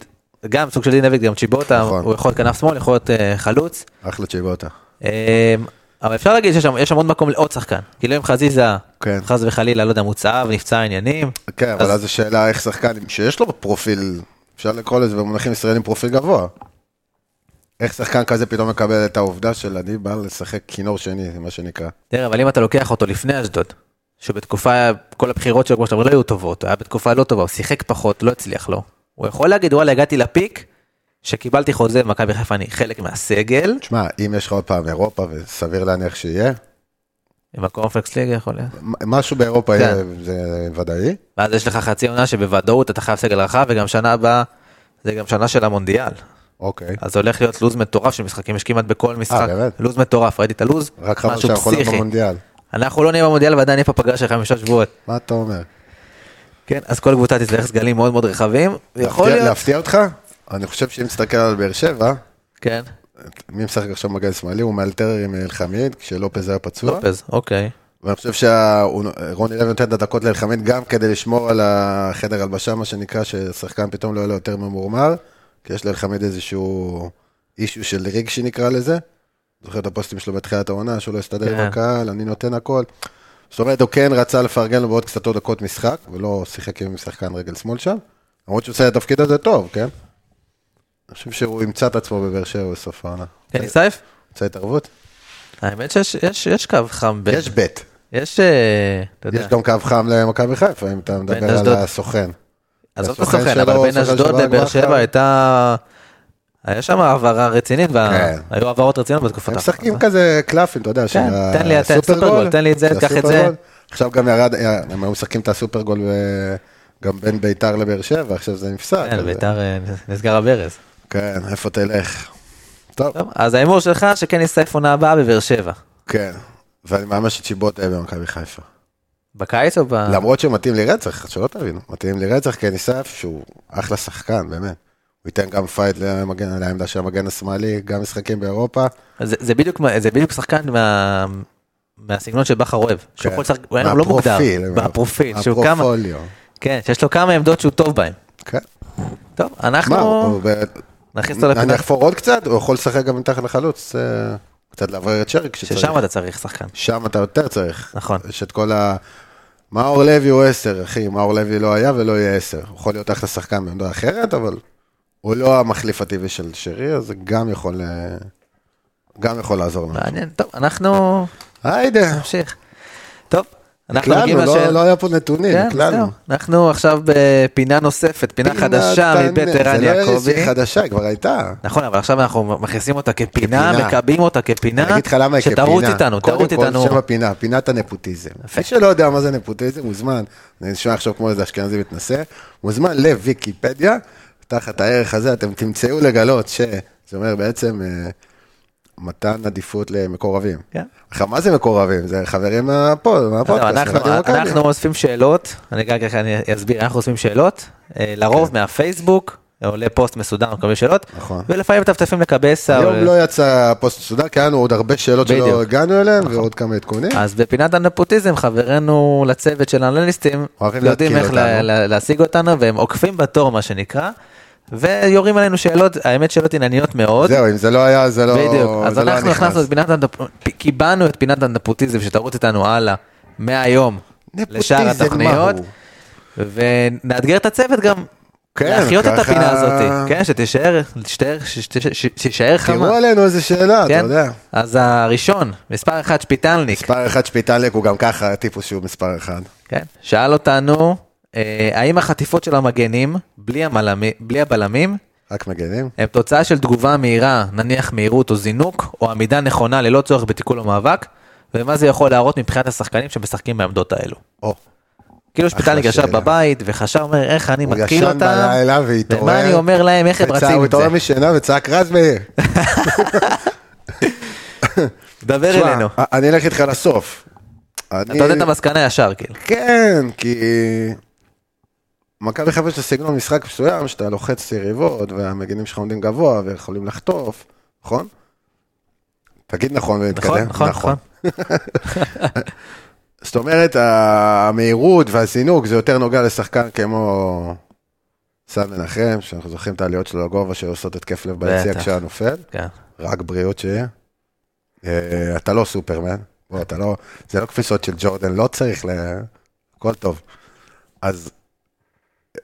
[SPEAKER 2] גם סוג של דין דוד, גם צ'יבוטה,
[SPEAKER 1] נכון.
[SPEAKER 2] הוא יכול להיות כנף שמאל, יכול להיות אה, חלוץ.
[SPEAKER 1] אחלה צ'יבוטה.
[SPEAKER 2] אה, אבל אפשר להגיד שיש שם, יש שם עוד מקום לעוד שחקן, כאילו אם חזיזה,
[SPEAKER 1] כן.
[SPEAKER 2] חס וחלילה, לא יודע, מוצאה ונפצע עניינים,
[SPEAKER 1] כן, אבל
[SPEAKER 2] אז-
[SPEAKER 1] אז השאלה איך שחקן, שיש לו פרופיל, אפשר לקרוא לזה במונחים ישראלים פרופיל גבוה. איך שחקן כזה פתאום מקבל את העובדה של אני בא לשחק כינור שני, מה שנקרא.
[SPEAKER 2] תראה, אבל אם אתה לוקח אותו לפני אשדוד, שבתקופה, כל הבחירות שלו, כמו שאתה אומר, לא היו טובות, הוא היה בתקופה לא טובה, הוא שיחק פחות, לא הצליח לו. הוא יכול להגיד, וואלה, הגעתי לפיק, שקיבלתי חוזה במכבי חיפה, אני חלק מהסגל,
[SPEAKER 1] תשמע, אם יש לך עוד פעם אירופה, וסביר להניח שיהיה,
[SPEAKER 2] עם הקורנפלקס ליגה יכול להיות.
[SPEAKER 1] מ- משהו באירופה
[SPEAKER 2] כן.
[SPEAKER 1] יהיה, זה ודאי.
[SPEAKER 2] ואז יש לך חצי עונה שבוודאות אתה חייב סגל רחב, וגם שנה הבאה, זה גם שנה של המונדיאל.
[SPEAKER 1] אוקיי.
[SPEAKER 2] אז זה הולך להיות לו"ז מטורף של משחקים, יש כמעט בכל משחק.
[SPEAKER 1] אה, באמת?
[SPEAKER 2] לו"ז מטורף, ראיתי את הלו"ז,
[SPEAKER 1] רק חבל
[SPEAKER 2] משהו
[SPEAKER 1] שאנחנו לא
[SPEAKER 2] פסיכי.
[SPEAKER 1] במונדיאל.
[SPEAKER 2] אנחנו לא נהיה במונדיאל ועדיין יהיה פה פגרה של חמישה שבועות.
[SPEAKER 1] מה אתה אומר?
[SPEAKER 2] כן, אז כל קבוצה תצטרך סגלים מאוד מאוד רחבים, ויכול
[SPEAKER 1] להפתיע-
[SPEAKER 2] להיות...
[SPEAKER 1] להפתיע אותך? אני חושב שאם תסתכל על באר שבע,
[SPEAKER 2] כן.
[SPEAKER 1] מי משחק עכשיו מגן שמאלי, הוא מאלתר עם אלחמיד, כשלופז היה פצוע.
[SPEAKER 2] לופז, אוקיי.
[SPEAKER 1] ואני חושב שרוני לוי נותן את הדקות לאלחמיד גם כדי לשמור על החדר הלבשה, מה שנקרא, ששחקן פתאום לא יהיה לו יותר ממורמר, כי יש לאלחמיד איזשהו אישיו של רגשי נקרא לזה. זוכר את הפוסטים שלו בתחילת העונה, שהוא לא הסתדר
[SPEAKER 2] כן.
[SPEAKER 1] עם הקהל, אני נותן הכל. זאת אומרת, הוא כן רצה לפרגן לו בעוד קצת עוד דקות משחק, ולא שיחק עם שחקן רגל שמאל שם. למרות שהוא עושה את התפקיד הזה טוב, כן? אני חושב שהוא ימצא את עצמו בבאר שבע בסוף העונה.
[SPEAKER 2] כן, סייף?
[SPEAKER 1] רוצה התערבות?
[SPEAKER 2] האמת שיש יש- יש קו חם בין...
[SPEAKER 1] יש בית.
[SPEAKER 2] יש... אה, אתה יודע.
[SPEAKER 1] יש גם קו חם למכבי חיפה, אם אתה מדבר על
[SPEAKER 2] אשדוד.
[SPEAKER 1] הסוכן.
[SPEAKER 2] עזוב את
[SPEAKER 1] הסוכן
[SPEAKER 2] הסוכן,
[SPEAKER 1] שלו,
[SPEAKER 2] אבל בין
[SPEAKER 1] הסוכן
[SPEAKER 2] אשדוד
[SPEAKER 1] שלו היה
[SPEAKER 2] לבאר
[SPEAKER 1] גמר
[SPEAKER 2] שבע
[SPEAKER 1] חלום.
[SPEAKER 2] הייתה... היה שם העברה רצינית,
[SPEAKER 1] כן.
[SPEAKER 2] והיו העברות רציניות בתקופת
[SPEAKER 1] הם
[SPEAKER 2] האחרונה. כן,
[SPEAKER 1] משחקים אה, כזה קלפים, אתה יודע, של
[SPEAKER 2] תן לי, תן,
[SPEAKER 1] הסופרגול,
[SPEAKER 2] סופרגול, תן לי את זה,
[SPEAKER 1] של
[SPEAKER 2] קח את זה.
[SPEAKER 1] הסופרגול. עכשיו גם ירד, אה, הם היו משחקים את הסופרגול ו- גם בין ביתר לבאר שבע, עכשיו זה נפסק.
[SPEAKER 2] כן,
[SPEAKER 1] אז-
[SPEAKER 2] ביתר אה, נסגר הברז.
[SPEAKER 1] כן, איפה תלך? טוב,
[SPEAKER 2] טוב, אז ההימור שלך שכן יסייף עונה הבאה בבאר שבע.
[SPEAKER 1] כן. ואני מאמין שצ'יבוטה יהיה במכבי חיפה.
[SPEAKER 2] בקיץ או ב...
[SPEAKER 1] למרות שמתאים לי רצח, שלא תבינו, מתאים לי רצח, כי ניסף שהוא אחלה שחקן, באמת. הוא ייתן גם פייט למגן- לעמדה של המגן השמאלי, גם משחקים באירופה.
[SPEAKER 2] זה זה בדיוק מה- זה בדיוק שחקן מה... מהסגנון של בכר אוהב, שהוא יכול לשחק, הוא היה לא מוגדר,
[SPEAKER 1] כן. מהפרופיל,
[SPEAKER 2] בפרופיל, שהוא כמה,
[SPEAKER 1] הפרופוליו.
[SPEAKER 2] כן, שיש לו כמה עמדות שהוא טוב בהן.
[SPEAKER 1] כן.
[SPEAKER 2] טוב,
[SPEAKER 1] מה,
[SPEAKER 2] אנחנו
[SPEAKER 1] הוא- ב-
[SPEAKER 2] נכניס אותו
[SPEAKER 1] אני
[SPEAKER 2] לפינה
[SPEAKER 1] אחפור עוד קצת, הוא יכול לשחק גם מתחת לחלוץ, אה, קצת לעבר את שרי כשצריך.
[SPEAKER 2] ששם אתה צריך שחקן.
[SPEAKER 1] שם אתה יותר צריך.
[SPEAKER 2] נכון.
[SPEAKER 1] יש את כל ה... מאור לוי הוא 10, אחי, מאור לוי לא היה ולא יהיה 10. הוא יכול להיות אחלה שחקן בעמדה אחרת, אבל הוא לא המחליף הטבעי של שרי, אז זה גם יכול... אה, גם יכול לעזור לנו.
[SPEAKER 2] מעניין, טוב, אנחנו
[SPEAKER 1] היידה,
[SPEAKER 2] נמשיך. טוב, אנחנו
[SPEAKER 1] נקלענו,
[SPEAKER 2] מגיעים
[SPEAKER 1] לא-
[SPEAKER 2] לשאלה.
[SPEAKER 1] לא היה פה נתונים,
[SPEAKER 2] כן,
[SPEAKER 1] נקלענו.
[SPEAKER 2] זהו. אנחנו עכשיו בפינה נוספת, פינה חדשה
[SPEAKER 1] פינת
[SPEAKER 2] מבית
[SPEAKER 1] תענה.
[SPEAKER 2] ערן
[SPEAKER 1] זה לא איזושהי
[SPEAKER 2] יעקבי.
[SPEAKER 1] חדשה, כבר הייתה.
[SPEAKER 2] נכון, אבל עכשיו אנחנו מכניסים אותה כפינה,
[SPEAKER 1] כפינה.
[SPEAKER 2] מקבעים אותה כפינה,
[SPEAKER 1] אני אגיד לך למה היא כפינה.
[SPEAKER 2] שתרוץ איתנו, תרוץ
[SPEAKER 1] קודם
[SPEAKER 2] איתנו.
[SPEAKER 1] כל, שם הפינה, פינת הנפוטיזם. מי שלא יודע מה זה נפוטיזם, מוזמן, אני נשמע עכשיו כמו איזה אשכנזי מתנשא, מוזמן לוויקיפדיה, תחת הערך הזה אתם תמצאו לגלות ש... זה אומר בעצם אה, מתן עדיפות למקורבים.
[SPEAKER 2] כן.
[SPEAKER 1] עכשיו, מה זה מקורבים? זה חברים מהפוד-
[SPEAKER 2] לא,
[SPEAKER 1] מהפודקאסט. אוקיי.
[SPEAKER 2] אנחנו-
[SPEAKER 1] מרדיו מכבי.
[SPEAKER 2] אנחנו אוספים שאלות, אני גם ככה אני אסביר, אנחנו אוספים שאלות, אה, לרוב מהפייסבוק, אה, עולה פוסט מסודר, מקבלים שאלות,
[SPEAKER 1] כן. נכון.
[SPEAKER 2] ולפעמים מטפטפים אה, לקבסה,
[SPEAKER 1] היום
[SPEAKER 2] אבל-
[SPEAKER 1] לא יצא פוסט מסודר, כי היה לנו עוד הרבה שאלות
[SPEAKER 2] בדיוק. נכון.
[SPEAKER 1] שלא הגענו אליהן, ועוד כמה עדכונים.
[SPEAKER 2] אז בפינת הנפוטיזם, חברינו לצוות של האנליסטים,
[SPEAKER 1] אוהבים
[SPEAKER 2] יודעים
[SPEAKER 1] להתקיל
[SPEAKER 2] איך לה,
[SPEAKER 1] אותנו.
[SPEAKER 2] לה, להשיג אותנו, והם עוקפים בתור, מה שנקרא, ויורים עלינו שאלות, האמת שאלות ענייניות מאוד.
[SPEAKER 1] זהו, אם זה לא היה, זה לא
[SPEAKER 2] בדיוק, אז
[SPEAKER 1] זה לא היה
[SPEAKER 2] אנחנו
[SPEAKER 1] נכנס.
[SPEAKER 2] הכנסנו את פינת הנפוטיזם, קיבלנו את פינת הנפוטיזם שתרוץ איתנו הלאה, מהיום, לשאר
[SPEAKER 1] נפוטיזם,
[SPEAKER 2] התוכניות,
[SPEAKER 1] מהו?
[SPEAKER 2] ונאתגר את הצוות גם.
[SPEAKER 1] כן,
[SPEAKER 2] להחיות את
[SPEAKER 1] ככה-
[SPEAKER 2] הפינה הזאת, כן, שתישאר, שתישאר- שתישאר- ש- שתישאר חמה,
[SPEAKER 1] תראו עלינו איזה שאלה, אתה
[SPEAKER 2] כן?
[SPEAKER 1] יודע.
[SPEAKER 2] אז הראשון, מספר אחד שפיטלניק,
[SPEAKER 1] מספר אחד שפיטלק הוא גם ככה הטיפוס שהוא מספר אחד.
[SPEAKER 2] כן. שאל אותנו, אה, האם החטיפות של המגנים, בלי, המלמי, בלי הבלמים,
[SPEAKER 1] רק מגנים.
[SPEAKER 2] הם תוצאה של תגובה מהירה, נניח מהירות או זינוק, או עמידה נכונה ללא צורך בתיקול או מאבק, ומה זה יכול להראות מבחינת השחקנים שמשחקים בעמדות האלו.
[SPEAKER 1] או,
[SPEAKER 2] כאילו שפיטלניק ישב
[SPEAKER 1] שאלה.
[SPEAKER 2] בבית וחשב, אומר, איך אני
[SPEAKER 1] הוא
[SPEAKER 2] מתקיל
[SPEAKER 1] ישן
[SPEAKER 2] אותם,
[SPEAKER 1] בלילה והתעורר.
[SPEAKER 2] ומה אני אומר להם, איך הם
[SPEAKER 1] וצעק-
[SPEAKER 2] רצים
[SPEAKER 1] הוא
[SPEAKER 2] עם זה.
[SPEAKER 1] התעורר משינה וצעק רז מאיר.
[SPEAKER 2] דבר
[SPEAKER 1] תשמע,
[SPEAKER 2] אלינו.
[SPEAKER 1] א- אני אלך איתך לסוף. אה,
[SPEAKER 2] אתה יודע את המסקנה ישר, כאילו.
[SPEAKER 1] כן, כי מכבי חיפה יש לה סגנון משחק מסוים, שאתה לוחץ יריבות, והמגינים שלך עומדים גבוה, ויכולים לחטוף, נכון? תגיד נכון ונתקדם.
[SPEAKER 2] נכון, נכון.
[SPEAKER 1] זאת אומרת, המהירות והזינוק זה יותר נוגע לשחקן כמו סל מנחם, שאנחנו זוכרים את העליות שלו לגובה שעושות התקף לב ביציע
[SPEAKER 2] בטח.
[SPEAKER 1] כשהיה נופל.
[SPEAKER 2] כן.
[SPEAKER 1] רק בריאות שיהיה. אה, אתה לא סופרמן, בוא, אתה לא, זה לא קפיצות של ג'ורדן, לא צריך ל... הכל טוב. אז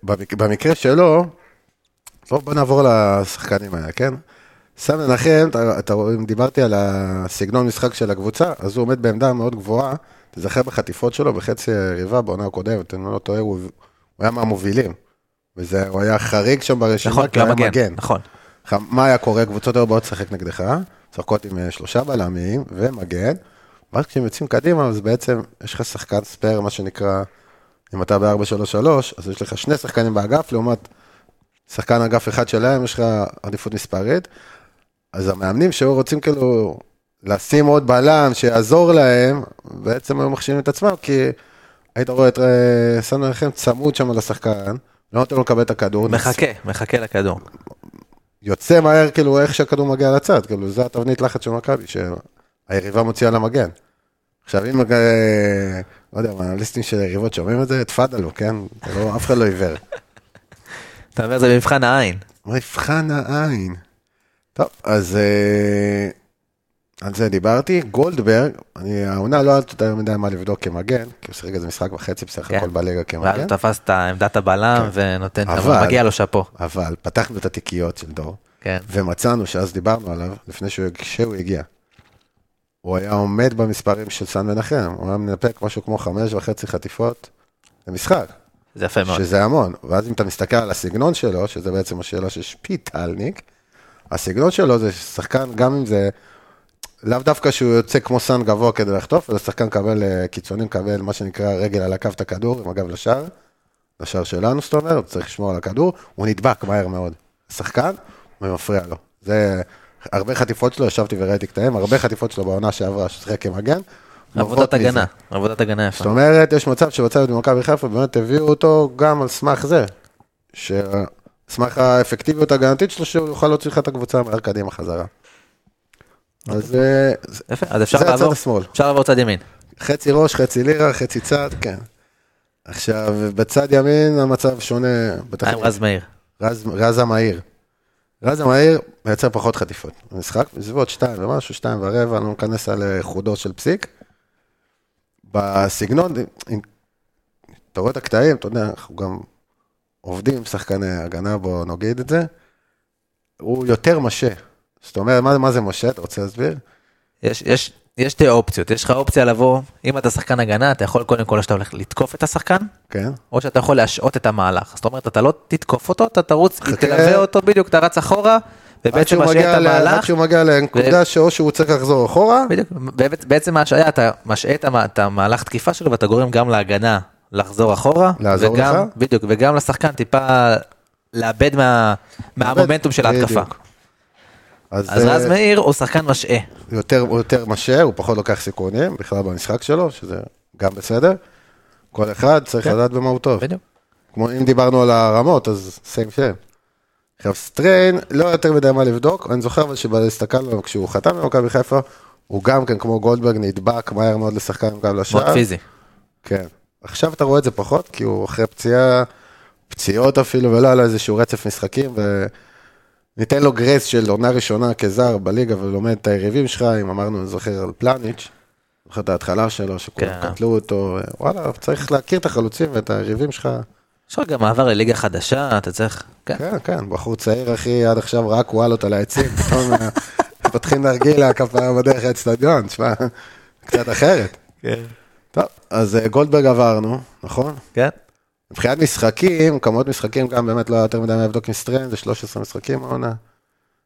[SPEAKER 1] במק... במקרה שלו, בוא, בוא נעבור לשחקנים האלה, כן? סם מנחם, אתה, אתה, רואה, אם דיברתי על הסגנון משחק של הקבוצה, אז הוא עומד בעמדה מאוד גבוהה, תזכר בחטיפות שלו בחצי היריבה בעונה הקודמת, אם אני לא טועה, הוא, הוא היה מהמובילים. וזה, הוא היה חריג שם ברשימה,
[SPEAKER 2] נכון,
[SPEAKER 1] כי הוא היה
[SPEAKER 2] למגן. נכון.
[SPEAKER 1] ח- מה היה קורה? קבוצות היו באות לשחק נגדך, משחקות עם אה, שלושה בלמים ומגן, ואז כשהם יוצאים קדימה, אז בעצם יש לך שחקן ספייר, מה שנקרא, אם אתה ב-4-3-3, אז יש לך שני שחקנים באגף, לעומת שחקן אגף אחד שלהם, יש לך עדיפות מספרית. אז המאמנים שהיו רוצים כאילו לשים עוד בלם שיעזור להם, בעצם היו מחשיבים את עצמם, כי היית רואה את אה, סן מנחם צמוד שם לשחקן, לא נותן לו לקבל את הכדור.
[SPEAKER 2] מחכה, מחכה לכדור.
[SPEAKER 1] יוצא מהר, כאילו, איך שהכדור מגיע לצד, כאילו, זה התבנית לחץ של מכבי, שהיריבה מוציאה למגן. עכשיו, אם, אה, לא יודע, מה, האנליסטים של היריבות שומעים את זה, תפאדלו, כן? זה לא, אף אחד לא עיוור.
[SPEAKER 2] אתה אומר זה במבחן העין.
[SPEAKER 1] מבחן העין. טוב, אז אה, על זה דיברתי. גולדברג, אני, העונה לא היה יותר מדי מה לבדוק כמגן, כי הוא שיחק איזה משחק וחצי בסך
[SPEAKER 2] כן.
[SPEAKER 1] הכל בליגה
[SPEAKER 2] ואז
[SPEAKER 1] כמגן,
[SPEAKER 2] הוא תפס את עמדת הבלם ונותן, את ה-
[SPEAKER 1] כן. אבל-
[SPEAKER 2] מגיע לו שאפו.
[SPEAKER 1] אבל פתחנו את התיקיות של דור.
[SPEAKER 2] כן.
[SPEAKER 1] ומצאנו שאז דיברנו עליו, לפני שהוא, כשהוא הגיע. הוא היה עומד במספרים של סן מנחם, הוא היה מנפק משהו כמו חמש וחצי חטיפות למשחק,
[SPEAKER 2] זה יפה מאוד.
[SPEAKER 1] שזה המון. ואז אם אתה מסתכל על הסגנון שלו, שזה בעצם השאלה של שפיטלניק, הסגנון שלו זה שחקן, גם אם זה, לאו דווקא שהוא יוצא כמו סן גבוה כדי לחטוף, אלא שחקן מקבל, אה, קיצוני מקבל מה שנקרא רגל על הקו את הכדור, עם הגב לשער, לשער שלנו, זאת אומרת, הוא צריך לשמור על הכדור, הוא נדבק מהר מאוד. שחקן, ומפריע לו. זה, הרבה חטיפות שלו, ישבתי וראיתי קטעים, הרבה חטיפות שלו בעונה שעברה, ששיחק כמגן. נובעות
[SPEAKER 2] עבודת
[SPEAKER 1] מזה.
[SPEAKER 2] הגנה, עבודת הגנה יפה.
[SPEAKER 1] זאת אומרת, יש מצב שבצד במכבי חיפה באמת הביאו אותו גם על סמך זה, ש- על סמך האפקטיביות ההגנתית שלו, שהוא יוכל להוציא לך את הקבוצה מהר קדימה חזרה. אז אה, זה-
[SPEAKER 2] יפה, אז אפשר
[SPEAKER 1] זה הצד
[SPEAKER 2] לעבור,
[SPEAKER 1] השמאל.
[SPEAKER 2] אפשר לעבור צד ימין.
[SPEAKER 1] חצי ראש, חצי לירה, חצי צד, כן. עכשיו, בצד ימין המצב שונה. בטח-
[SPEAKER 2] עם רז מאיר.
[SPEAKER 1] רז, רז המהיר. רז המהיר מייצר פחות חטיפות. משחק בסביבות שתיים ומשהו, שתיים ורבע, אני לא מכנס על אה, חודו של פסיק. בסגנון, אם- אתה רואה את הקטעים, אתה יודע, אנחנו גם עובדים עם שחקני הגנה, בוא נגיד את זה. הוא יותר משה. זאת אומרת, מה, מה זה משה? אתה רוצה להסביר?
[SPEAKER 2] יש, יש, יש שתי אופציות, יש לך אופציה לבוא, אם אתה שחקן הגנה, אתה יכול קודם כל שאתה הולך לתקוף את השחקן,
[SPEAKER 1] כן.
[SPEAKER 2] או שאתה יכול להשעות את המהלך. זאת אומרת, אתה לא תתקוף אותו, אתה תרוץ,
[SPEAKER 1] חכה.
[SPEAKER 2] תלווה אותו בדיוק, אתה רץ אחורה,
[SPEAKER 1] עד
[SPEAKER 2] ובעצם
[SPEAKER 1] שהוא
[SPEAKER 2] משעה
[SPEAKER 1] מגיע
[SPEAKER 2] את
[SPEAKER 1] ל- עד
[SPEAKER 2] המהלך,
[SPEAKER 1] שהוא מגיע לנקודה שאו שהוא צריך לחזור אחורה,
[SPEAKER 2] בדיוק, ובעצם- בעצם ההשעיה, אתה משעה את המה- את המהלך תקיפה שלו, ואתה גורם גם להגנה לחזור אחורה,
[SPEAKER 1] לעזור
[SPEAKER 2] וגם,
[SPEAKER 1] לך?
[SPEAKER 2] בדיוק, וגם לשחקן טיפה לאבד מה, מהמומנטום של ההתקפה.
[SPEAKER 1] בדיוק. אז,
[SPEAKER 2] אז
[SPEAKER 1] אה,
[SPEAKER 2] רז מאיר הוא שחקן משעה.
[SPEAKER 1] יותר, הוא יותר משה, הוא פחות לוקח סיכונים, בכלל במשחק שלו, שזה גם בסדר. כל אחד צריך
[SPEAKER 2] כן.
[SPEAKER 1] לדעת במה הוא טוב.
[SPEAKER 2] בדיוק.
[SPEAKER 1] כמו אם דיברנו על הרמות, אז סיים שם. עכשיו סטריין, לא יותר מדי מה לבדוק, אני זוכר אבל שהסתכלנו עליו כשהוא חתם במכבי חיפה, הוא גם כן כמו גולדברג נדבק מהר מאוד לשחקן גם לשער.
[SPEAKER 2] מאוד פיזי.
[SPEAKER 1] כן. עכשיו אתה רואה את זה פחות, כי הוא אחרי פציעה, פציעות אפילו, ולא היה לו איזשהו רצף משחקים, וניתן לו גרייס של עונה ראשונה כזר בליגה ולומד את היריבים שלך, אם אמרנו, אני זוכר על פלניץ', זוכר את ההתחלה שלו, שכולם
[SPEAKER 2] כן.
[SPEAKER 1] קטלו אותו, וואלה, צריך להכיר את החלוצים ואת היריבים שלך.
[SPEAKER 2] יש לך גם מעבר לליגה חדשה, אתה צריך... כן.
[SPEAKER 1] כן, כן, בחור צעיר, אחי, עד עכשיו רק וואלות על העצים, פתאום אה, פותחים נרגילה, כפרה בדרך לאצטדיון, תשמע, קצת אחרת. טוב, אז אה, גולדברג עברנו, נכון?
[SPEAKER 2] כן.
[SPEAKER 1] מבחינת משחקים, כמות משחקים גם באמת לא היה יותר מדי מה לבדוק עם סטרן, זה 13 משחקים העונה.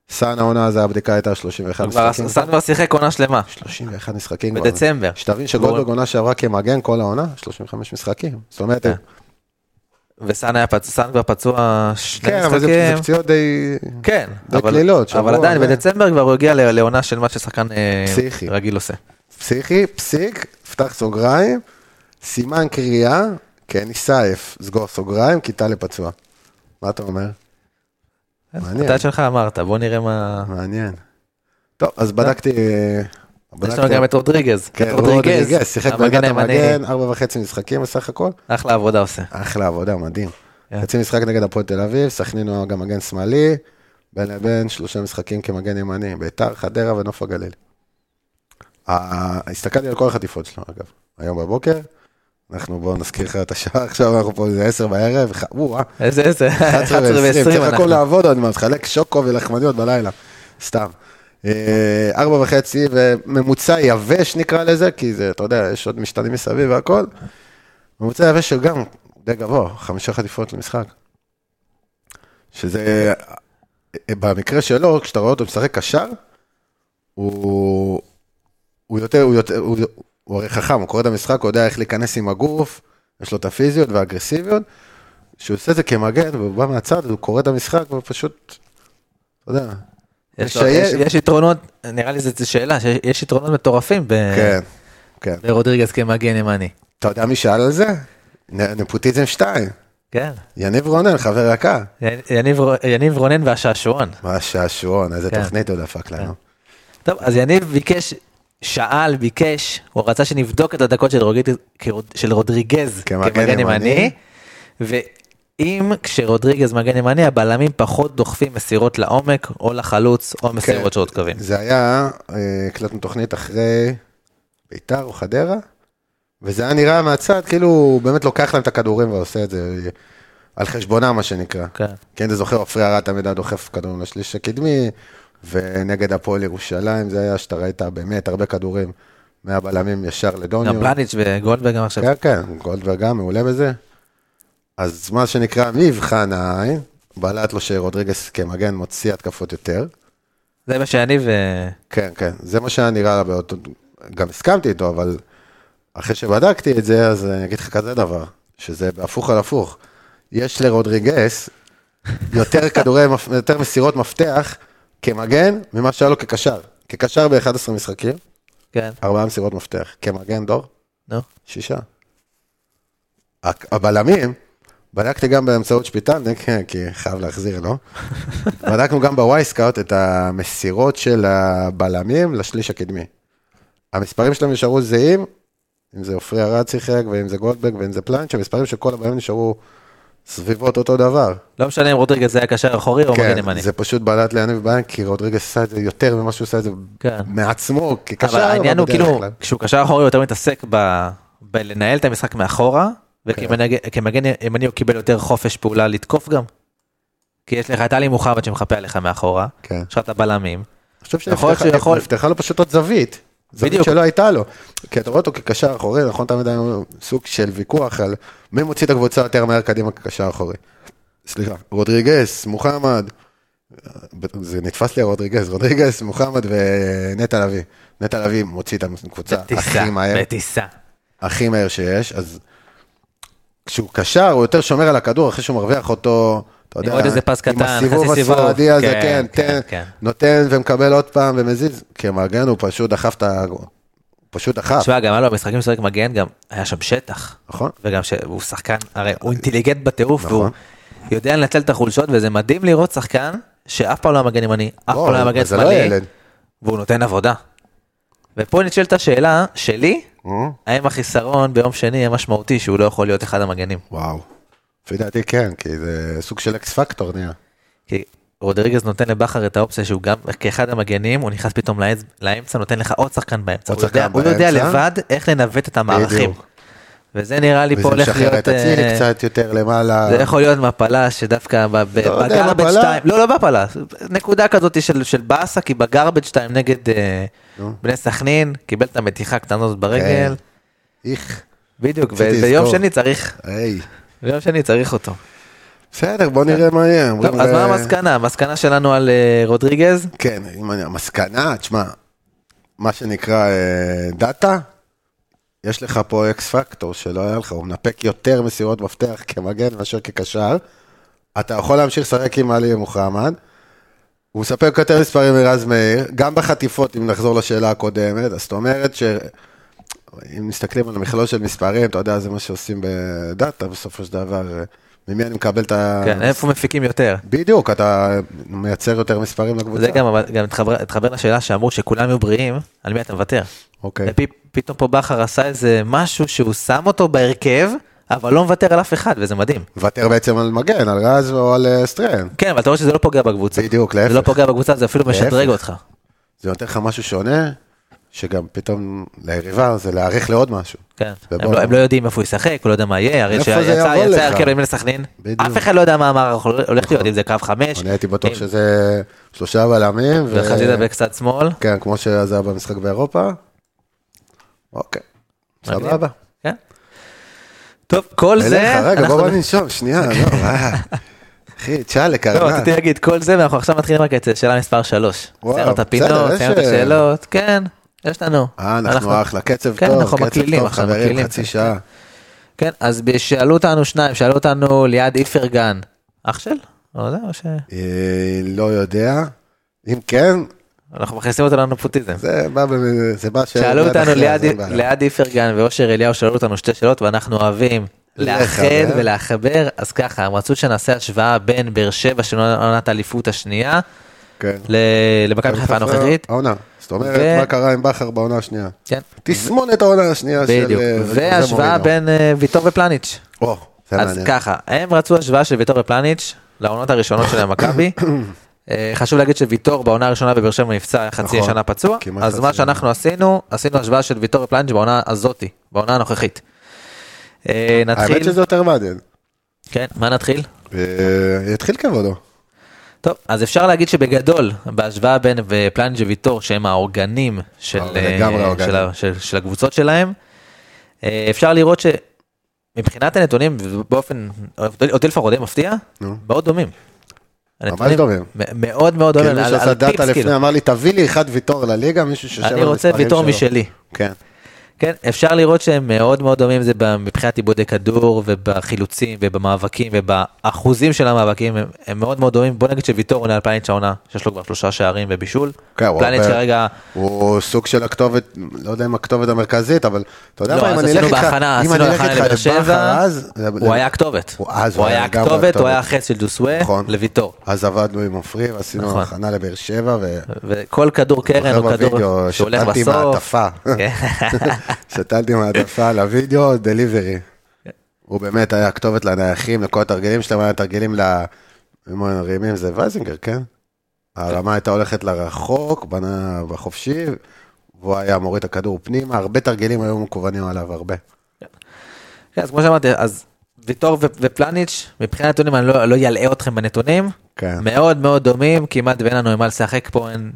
[SPEAKER 1] סאן העונה, אז הבדיקה הייתה 31
[SPEAKER 2] הוא כבר-
[SPEAKER 1] משחקים.
[SPEAKER 2] סאן כבר שיחק עונה שלמה,
[SPEAKER 1] 31 משחקים כבר.
[SPEAKER 2] בדצמבר. לא
[SPEAKER 1] שתבין שגולדברג
[SPEAKER 2] גורם-
[SPEAKER 1] עונה שעברה כמגן כל העונה, 35 משחקים. זאת אומרת,
[SPEAKER 2] כן. וסאן היה פצוע, סאן כבר פצוע שני
[SPEAKER 1] כן, אבל זה זה
[SPEAKER 2] משחקים.
[SPEAKER 1] פציעות די...
[SPEAKER 2] כן,
[SPEAKER 1] זה
[SPEAKER 2] אבל-
[SPEAKER 1] קלילות, שבוע,
[SPEAKER 2] אבל עדיין
[SPEAKER 1] זה.
[SPEAKER 2] בדצמבר כבר הוא הגיע ל- לעונה של מה ששחקן אה,
[SPEAKER 1] פסיכי.
[SPEAKER 2] רגיל עושה.
[SPEAKER 1] פסיכי, פסיק, פתח סוגריים, סימן קריאה, קני סייף, סגור סוגריים, כיתה לפצוע. מה אתה אומר? מעניין.
[SPEAKER 2] אתה שלך אמרת, בוא נראה מה...
[SPEAKER 1] מעניין. טוב, אז בדקתי... אה,
[SPEAKER 2] יש לנו גם את רודריגז.
[SPEAKER 1] כן, רודריגז, שיחק בעמדת המגן, ארבע וחצי משחקים בסך הכל.
[SPEAKER 2] אחלה עבודה עושה.
[SPEAKER 1] אחלה עבודה, מדהים. חצי משחק נגד הפועל תל אביב, סכנין הוא גם מגן שמאלי, בין לבין שלושה משחקים כמגן ימני, ביתר, חדרה ונוף הגליל. אה, הסתכלתי על כל החטיפות שלו, אגב, היום בבוקר. אנחנו בואו נזכיר לך את השעה עכשיו, אנחנו פה איזה עשר בערב, ח- וואו,
[SPEAKER 2] איזה איזה,
[SPEAKER 1] 11
[SPEAKER 2] 11
[SPEAKER 1] ו-20, צריך
[SPEAKER 2] ו-20
[SPEAKER 1] לקום
[SPEAKER 2] אנחנו.
[SPEAKER 1] לעבוד עוד מעט, חלק שוקו ולחמניות בלילה, סתם. אה, ארבע וחצי, וממוצע יבש נקרא לזה, כי זה, אתה יודע, יש עוד משתנים מסביב והכל. ממוצע יבש שהוא גם די גבוה, חמישה חטיפות למשחק. שזה, אה, במקרה שלו, כשאתה רואה אותו משחק קשר, הוא, הוא יותר, הוא יותר, הוא, הוא הרי חכם, הוא קורא את המשחק, הוא יודע איך להיכנס עם הגוף, יש לו את הפיזיות והאגרסיביות, שהוא עושה את זה כמגן, והוא בא מהצד, והוא קורא את המשחק, והוא פשוט, אתה יודע,
[SPEAKER 2] יש לו-
[SPEAKER 1] משייף.
[SPEAKER 2] יש- יש יתרונות, נראה לי זו שאלה, שיש- יש יתרונות מטורפים ב-
[SPEAKER 1] כן, כן.
[SPEAKER 2] ברודריגז כמגן ימני.
[SPEAKER 1] אתה יודע מי שאל על זה? נ- נפוטיזם 2,
[SPEAKER 2] כן.
[SPEAKER 1] יניב רונן, חבר יקר.
[SPEAKER 2] יניב ר- יניב רונן והשעשועון.
[SPEAKER 1] מה שעשועון, איזה
[SPEAKER 2] כן.
[SPEAKER 1] תוכנית הוא דפק לנו.
[SPEAKER 2] טוב, אז יניב ביקש, שאל, ביקש, הוא רצה שנבדוק את הדקות של, רוגית, כרוד- של רודריגז
[SPEAKER 1] כמגן
[SPEAKER 2] כמגן,
[SPEAKER 1] ימני.
[SPEAKER 2] ימני, ואם כשרודריגז מגן ימני, הבלמים פחות דוחפים מסירות לעומק, או לחלוץ,
[SPEAKER 1] כן.
[SPEAKER 2] או מסירות שעות קווים.
[SPEAKER 1] זה היה, אה, הקלטנו תוכנית אחרי ביתר או חדרה, וזה היה נראה מהצד, כאילו הוא באמת לוקח להם את הכדורים ועושה את זה על חשבונם, מה שנקרא.
[SPEAKER 2] כן.
[SPEAKER 1] כן, אתה זוכר, עופרי ארד תמיד היה דוחף כדורים לשליש הקדמי, ונגד הפועל ירושלים זה היה שאתה ראית באמת הרבה כדורים מהבלמים ישר לדוניו.
[SPEAKER 2] גם פלניץ' וגולדברג גם עכשיו.
[SPEAKER 1] כן, כן, גולדברג גם מעולה בזה. אז מה שנקרא, מבחן העין, בלט לו שרודריגס כמגן מוציא התקפות יותר.
[SPEAKER 2] זה מה שיניב... אה,
[SPEAKER 1] כן, כן, זה מה שהיה נראה לה באותו, גם הסכמתי איתו, אבל אחרי שבדקתי את זה, אז אני אגיד לך כזה דבר, שזה בהפוך על הפוך. יש לרודריגס יותר כדורי, מפ- יותר מסירות מפתח כמגן ממה שהיה לו כקשר. כקשר ב-11 משחקים,
[SPEAKER 2] כן,
[SPEAKER 1] ארבעה מסירות מפתח. כמגן דור,
[SPEAKER 2] נו.
[SPEAKER 1] שישה. הק- הבלמים, בדקתי גם באמצעות שפיטלניק, כי חייב להחזיר לו. בדקנו גם בווייסקאוט את המסירות של הבלמים לשליש הקדמי. המספרים שלהם נשארו זהים, אם זה עופרי ארד שיחק, ואם זה גולדברג, ואם זה פלנץ', המספרים של כל הבלמים נשארו סביבות אותו דבר.
[SPEAKER 2] לא משנה אם רודריגז זה היה קשר אחורי או מגן
[SPEAKER 1] כן,
[SPEAKER 2] ימני.
[SPEAKER 1] זה פשוט בלט ליניב בעין, כי רודריגס עשה את זה יותר ממה שהוא עשה את זה
[SPEAKER 2] כן.
[SPEAKER 1] מעצמו, כקשר.
[SPEAKER 2] אבל העניין הוא
[SPEAKER 1] בדרך
[SPEAKER 2] כאילו,
[SPEAKER 1] כלל.
[SPEAKER 2] כשהוא קשר אחורי הוא יותר מתעסק ב- בלנהל את המשחק מאחורה, וכמגן ימני הוא קיבל יותר חופש פעולה לתקוף גם. כי יש לך את עלי מוחמד שמחפה עליך מאחורה,
[SPEAKER 1] כן.
[SPEAKER 2] יש לך את הבלמים.
[SPEAKER 1] אני חושב
[SPEAKER 2] יכול להיות שהוא יכול-
[SPEAKER 1] שנפתחה לו פשוט עוד זווית. זווית
[SPEAKER 2] בדיוק.
[SPEAKER 1] שלא הייתה לו. כי אתה רואה אותו כקשר אחורי, נכון? תמיד היה סוג של ויכוח על מי מוציא את הקבוצה יותר מהר קדימה כקשר אחורי. סליחה, רודריגס, מוחמד, זה נתפס לי רודריגס, רודריגס, מוחמד ונטע לביא. נטע לביא מוציא את הקבוצה
[SPEAKER 2] בטיסה,
[SPEAKER 1] הכי מהר, אה.
[SPEAKER 2] בטיסה.
[SPEAKER 1] הכי מהר שיש, אז כשהוא קשר, הוא יותר שומר על הכדור אחרי שהוא מרוויח אותו. אתה יודע,
[SPEAKER 2] עם עוד איזה פס
[SPEAKER 1] עם
[SPEAKER 2] קטן,
[SPEAKER 1] הסיבוב
[SPEAKER 2] חצי סיבוב.
[SPEAKER 1] הספרדי הזה,
[SPEAKER 2] כן,
[SPEAKER 1] כן,
[SPEAKER 2] כן,
[SPEAKER 1] כן,
[SPEAKER 2] כן.
[SPEAKER 1] נותן ומקבל עוד פעם ומזיז. כמגן הוא פשוט דחף את ה... פשוט דחף,
[SPEAKER 2] תשמע, גם היה לו במשחקים משחק מגן, גם היה שם שטח.
[SPEAKER 1] נכון?
[SPEAKER 2] וגם שהוא שחקן, הרי הוא אינטליגנט בטירוף,
[SPEAKER 1] נכון.
[SPEAKER 2] והוא יודע לנצל את החולשות, וזה מדהים לראות שחקן שאף פעם לא היה מגן ימני, אף פעם לא היה
[SPEAKER 1] בוא,
[SPEAKER 2] מגן
[SPEAKER 1] זה לא
[SPEAKER 2] שמאלי,
[SPEAKER 1] ילד.
[SPEAKER 2] והוא נותן עבודה. ופה נשאלת השאלה שלי, האם החיסרון ביום שני יהיה משמעותי שהוא לא יכול להיות אחד המגנים?
[SPEAKER 1] וואו. לפי דעתי כן, כי זה סוג של אקס פקטור נהיה.
[SPEAKER 2] כי רודריגז נותן לבכר את האופציה שהוא גם כאחד המגנים, הוא נכנס פתאום לאמצע- לאמצע, נותן לך עוד שחקן באמצע.
[SPEAKER 1] עוד
[SPEAKER 2] הוא יודע-
[SPEAKER 1] שחקן
[SPEAKER 2] הוא יודע
[SPEAKER 1] באמצע.
[SPEAKER 2] לבד איך לנווט את המערכים.
[SPEAKER 1] בדיוק.
[SPEAKER 2] וזה נראה לי פה
[SPEAKER 1] וזה
[SPEAKER 2] הולך
[SPEAKER 1] משחרר
[SPEAKER 2] להיות...
[SPEAKER 1] את אצילי
[SPEAKER 2] אה,
[SPEAKER 1] קצת יותר למעלה.
[SPEAKER 2] זה יכול להיות מפלה שדווקא ב- ב-
[SPEAKER 1] לא יודע,
[SPEAKER 2] בגרבג'
[SPEAKER 1] מפלה?
[SPEAKER 2] 2, לא לא מפלה, נקודה כזאת של- של באסה, כי בגרבג' 2 נגד אה, בני סכנין, קיבל את המתיחה הקטנה הזאת ברגל,
[SPEAKER 1] כן. איך.
[SPEAKER 2] בדיוק,
[SPEAKER 1] רציתי
[SPEAKER 2] וביום
[SPEAKER 1] לזכור.
[SPEAKER 2] שני צריך,
[SPEAKER 1] היי.
[SPEAKER 2] ביום שני צריך אותו.
[SPEAKER 1] בסדר, בוא נראה מה יהיה.
[SPEAKER 2] טוב,
[SPEAKER 1] אומרים,
[SPEAKER 2] אז מה
[SPEAKER 1] אה,
[SPEAKER 2] המסקנה? המסקנה שלנו על אה, רודריגז?
[SPEAKER 1] כן, אם אני... המסקנה, תשמע, מה שנקרא אה, דאטה, יש לך פה אקס פקטור שלא היה לך, הוא מנפק יותר מסירות מפתח כמגן מאשר כקשר. אתה יכול להמשיך לשחק עם עלי מוחמד. הוא מספק יותר מספרים מרז מאיר, גם בחטיפות, אם נחזור לשאלה הקודמת, אז זאת אומרת ש... אם מסתכלים על המכלול של מספרים, אתה יודע, זה מה שעושים בדאטה בסופו של דבר, אה, ממי אני מקבל את ה...
[SPEAKER 2] כן, איפה מפיקים יותר.
[SPEAKER 1] בדיוק, אתה מייצר יותר מספרים לקבוצה.
[SPEAKER 2] זה גם, אבל גם התחבר- התחבר לשאלה שאמרו שכולם יהיו בריאים, על מי אתה מוותר?
[SPEAKER 1] אוקיי.
[SPEAKER 2] ופ- פתאום פה בכר עשה איזה משהו שהוא שם אותו בהרכב, אבל לא מוותר על אף אחד, וזה מדהים.
[SPEAKER 1] מוותר בעצם על מגן, על רז או על אה, סטרן.
[SPEAKER 2] כן, אבל אתה רואה שזה לא פוגע בקבוצה.
[SPEAKER 1] בדיוק,
[SPEAKER 2] זה לא
[SPEAKER 1] להפך.
[SPEAKER 2] פוגע בקבוצה, זה אפילו משדרג אותך.
[SPEAKER 1] זה נותן לך משהו שונה, שגם פתאום ליריבה זה להעריך לעוד משהו.
[SPEAKER 2] כן.
[SPEAKER 1] ובוא-
[SPEAKER 2] הם לא- הם לא יודעים איפה הוא ישחק, הוא לא יודע מה יהיה, הרי
[SPEAKER 1] איפה
[SPEAKER 2] שיצא
[SPEAKER 1] זה יבוא
[SPEAKER 2] יצא
[SPEAKER 1] לך?
[SPEAKER 2] הרכב ימין לסכנין,
[SPEAKER 1] בדיוק.
[SPEAKER 2] אף אחד לא יודע מה אמר, הולך להיות, אם זה קו חמש,
[SPEAKER 1] אני הייתי בטוח
[SPEAKER 2] אם-
[SPEAKER 1] שזה שלושה בלמים. ו-
[SPEAKER 2] וחזיזה בקצת שמאל.
[SPEAKER 1] כן, כמו שזה היה במשחק באירופה. אוקיי,
[SPEAKER 2] מגניב.
[SPEAKER 1] סבבה.
[SPEAKER 2] כן. טוב, כל זה,
[SPEAKER 1] אליך, רגע,
[SPEAKER 2] אנחנו-
[SPEAKER 1] בוא בוא ננשום, שנייה, לא, אה. אחי, צ'אלק,
[SPEAKER 2] לא,
[SPEAKER 1] ארנק.
[SPEAKER 2] רציתי להגיד, כל זה, ואנחנו עכשיו מתחילים רק את שאלה מספר 3.
[SPEAKER 1] וואו,
[SPEAKER 2] סיימנו את
[SPEAKER 1] בסדר,
[SPEAKER 2] הפינות,
[SPEAKER 1] יש,
[SPEAKER 2] סיימנו את
[SPEAKER 1] אה,
[SPEAKER 2] השאלות, כן, יש לנו.
[SPEAKER 1] אה, אנחנו אחלה, קצב
[SPEAKER 2] כן,
[SPEAKER 1] טוב,
[SPEAKER 2] אנחנו
[SPEAKER 1] קצב
[SPEAKER 2] מקלילים
[SPEAKER 1] טוב,
[SPEAKER 2] עכשיו,
[SPEAKER 1] חברים,
[SPEAKER 2] מקלילים.
[SPEAKER 1] חצי שעה.
[SPEAKER 2] כן, אז ב- שאלו אותנו שניים, שאלו אותנו ליעד איפרגן, אח של? לא יודע, או ש...
[SPEAKER 1] אה, לא יודע, אם כן,
[SPEAKER 2] אנחנו מכניסים אותו לנפוטיזם.
[SPEAKER 1] זה בא, ב- זה בא שאלה
[SPEAKER 2] שאלו
[SPEAKER 1] מיד
[SPEAKER 2] אותנו
[SPEAKER 1] אחרי,
[SPEAKER 2] ליעד-
[SPEAKER 1] אז אין בעיה.
[SPEAKER 2] ליעד איפרגן ואושר אליהו שאלו אותנו שתי שאלות ואנחנו אוהבים לאחד
[SPEAKER 1] לחבר.
[SPEAKER 2] ולחבר אז ככה הם רצו שנעשה השוואה בין באר שבע של עונת האליפות השנייה
[SPEAKER 1] כן.
[SPEAKER 2] ל- למכבי חיפה הנוכחית.
[SPEAKER 1] העונה, זאת אומרת,
[SPEAKER 2] ו-
[SPEAKER 1] מה קרה עם בכר בעונה השנייה?
[SPEAKER 2] כן,
[SPEAKER 1] תסמונת העונה השנייה של...
[SPEAKER 2] בדיוק.
[SPEAKER 1] אה, זה- זה
[SPEAKER 2] והשוואה
[SPEAKER 1] מורינו.
[SPEAKER 2] בין אה, ויטור ופלניץ'.
[SPEAKER 1] או, זה
[SPEAKER 2] אז
[SPEAKER 1] מעניין.
[SPEAKER 2] ככה הם רצו השוואה של ויטור ופלניץ' לעונות הראשונות של המכבי. אה, חשוב להגיד שוויטור בעונה הראשונה בבאר שבע נפצע היה חצי
[SPEAKER 1] נכון,
[SPEAKER 2] שנה פצוע
[SPEAKER 1] כמעט
[SPEAKER 2] אז
[SPEAKER 1] חצי
[SPEAKER 2] מה
[SPEAKER 1] שנה.
[SPEAKER 2] שאנחנו עשינו עשינו השוואה של ויטור ופלניץ' בעונה הזאתי בעונה הנוכחית. אה,
[SPEAKER 1] האמת
[SPEAKER 2] נתחיל
[SPEAKER 1] שזה יותר מעניין.
[SPEAKER 2] כן מה נתחיל
[SPEAKER 1] אה, יתחיל כבודו.
[SPEAKER 2] טוב אז אפשר להגיד שבגדול בהשוואה בין אה, פלניץ' וויטור שהם האורגנים של
[SPEAKER 1] אבל
[SPEAKER 2] אה,
[SPEAKER 1] לגמרי
[SPEAKER 2] של
[SPEAKER 1] האורגנים.
[SPEAKER 2] ה- של- של הקבוצות שלהם אה, אפשר לראות ש. מבחינת הנתונים באופן אותי לפחות די מפתיע
[SPEAKER 1] נו.
[SPEAKER 2] מאוד דומים.
[SPEAKER 1] ממש
[SPEAKER 2] הנתונים
[SPEAKER 1] דומים.
[SPEAKER 2] מ- מאוד מאוד דומים,
[SPEAKER 1] כאילו
[SPEAKER 2] על-
[SPEAKER 1] שעשה
[SPEAKER 2] על
[SPEAKER 1] דאטה
[SPEAKER 2] טיפס
[SPEAKER 1] לפני
[SPEAKER 2] כאילו.
[SPEAKER 1] אמר לי תביא לי אחד ויטור לליגה מישהו שיושב על
[SPEAKER 2] אני רוצה
[SPEAKER 1] המספרים
[SPEAKER 2] ויטור
[SPEAKER 1] שלו."
[SPEAKER 2] משלי.
[SPEAKER 1] כן.
[SPEAKER 2] כן, אפשר לראות שהם מאוד מאוד דומים, זה מבחינת עיבודי כדור ובחילוצים ובמאבקים ובאחוזים של המאבקים, הם, הם מאוד מאוד דומים. בוא נגיד שוויטור עונה על פלניץ' העונה, שיש לו כבר שלושה שערים ובישול.
[SPEAKER 1] כן, הוא
[SPEAKER 2] פלניץ'
[SPEAKER 1] הרבה-
[SPEAKER 2] כרגע,
[SPEAKER 1] הוא סוג של הכתובת, לא יודע אם הכתובת המרכזית, אבל אתה יודע
[SPEAKER 2] לא,
[SPEAKER 1] מה, אם
[SPEAKER 2] אז
[SPEAKER 1] אני
[SPEAKER 2] עשינו
[SPEAKER 1] אלך איתך,
[SPEAKER 2] בהכנה,
[SPEAKER 1] אם
[SPEAKER 2] עשינו
[SPEAKER 1] אני אלך
[SPEAKER 2] בהכנה
[SPEAKER 1] איתך
[SPEAKER 2] לבאר
[SPEAKER 1] לבכר
[SPEAKER 2] שבע,
[SPEAKER 1] אז,
[SPEAKER 2] הוא היה הכתובת.
[SPEAKER 1] הוא- אז
[SPEAKER 2] הוא היה
[SPEAKER 1] לגמרי
[SPEAKER 2] הכתובת, הוא
[SPEAKER 1] הכתובת.
[SPEAKER 2] היה החץ של דוסווה
[SPEAKER 1] נכון.
[SPEAKER 2] לוויטור.
[SPEAKER 1] אז עבדנו עם עופרי ועשינו
[SPEAKER 2] נכון.
[SPEAKER 1] הכנה לבאר שבע, ו-
[SPEAKER 2] וכל כדור קרן הוא
[SPEAKER 1] זוכר
[SPEAKER 2] כדור
[SPEAKER 1] בווידאו,
[SPEAKER 2] שהולך
[SPEAKER 1] שתלתי
[SPEAKER 2] בסוף.
[SPEAKER 1] מעטפה,
[SPEAKER 2] כן.
[SPEAKER 1] שתלתי מעטפה על הוידאו, דליברי. הוא באמת היה הכתובת לנייחים, לכל התרגילים שלהם, היה תרגילים ל... אם הם מרימים זה וייזינגר, כן? הרמה הייתה הולכת לרחוק, בנה בחופשי, והוא היה מוריד את הכדור פנימה, הרבה תרגילים היו מכוונים עליו, הרבה.
[SPEAKER 2] כן, אז כמו שאמרתי, אז ויטור ו- ופלניץ', מבחינת הנתונים אני לא, לא ילאה אתכם בנתונים,
[SPEAKER 1] כן.
[SPEAKER 2] מאוד מאוד דומים, כמעט ואין לנו עם מה לשחק פה, אין,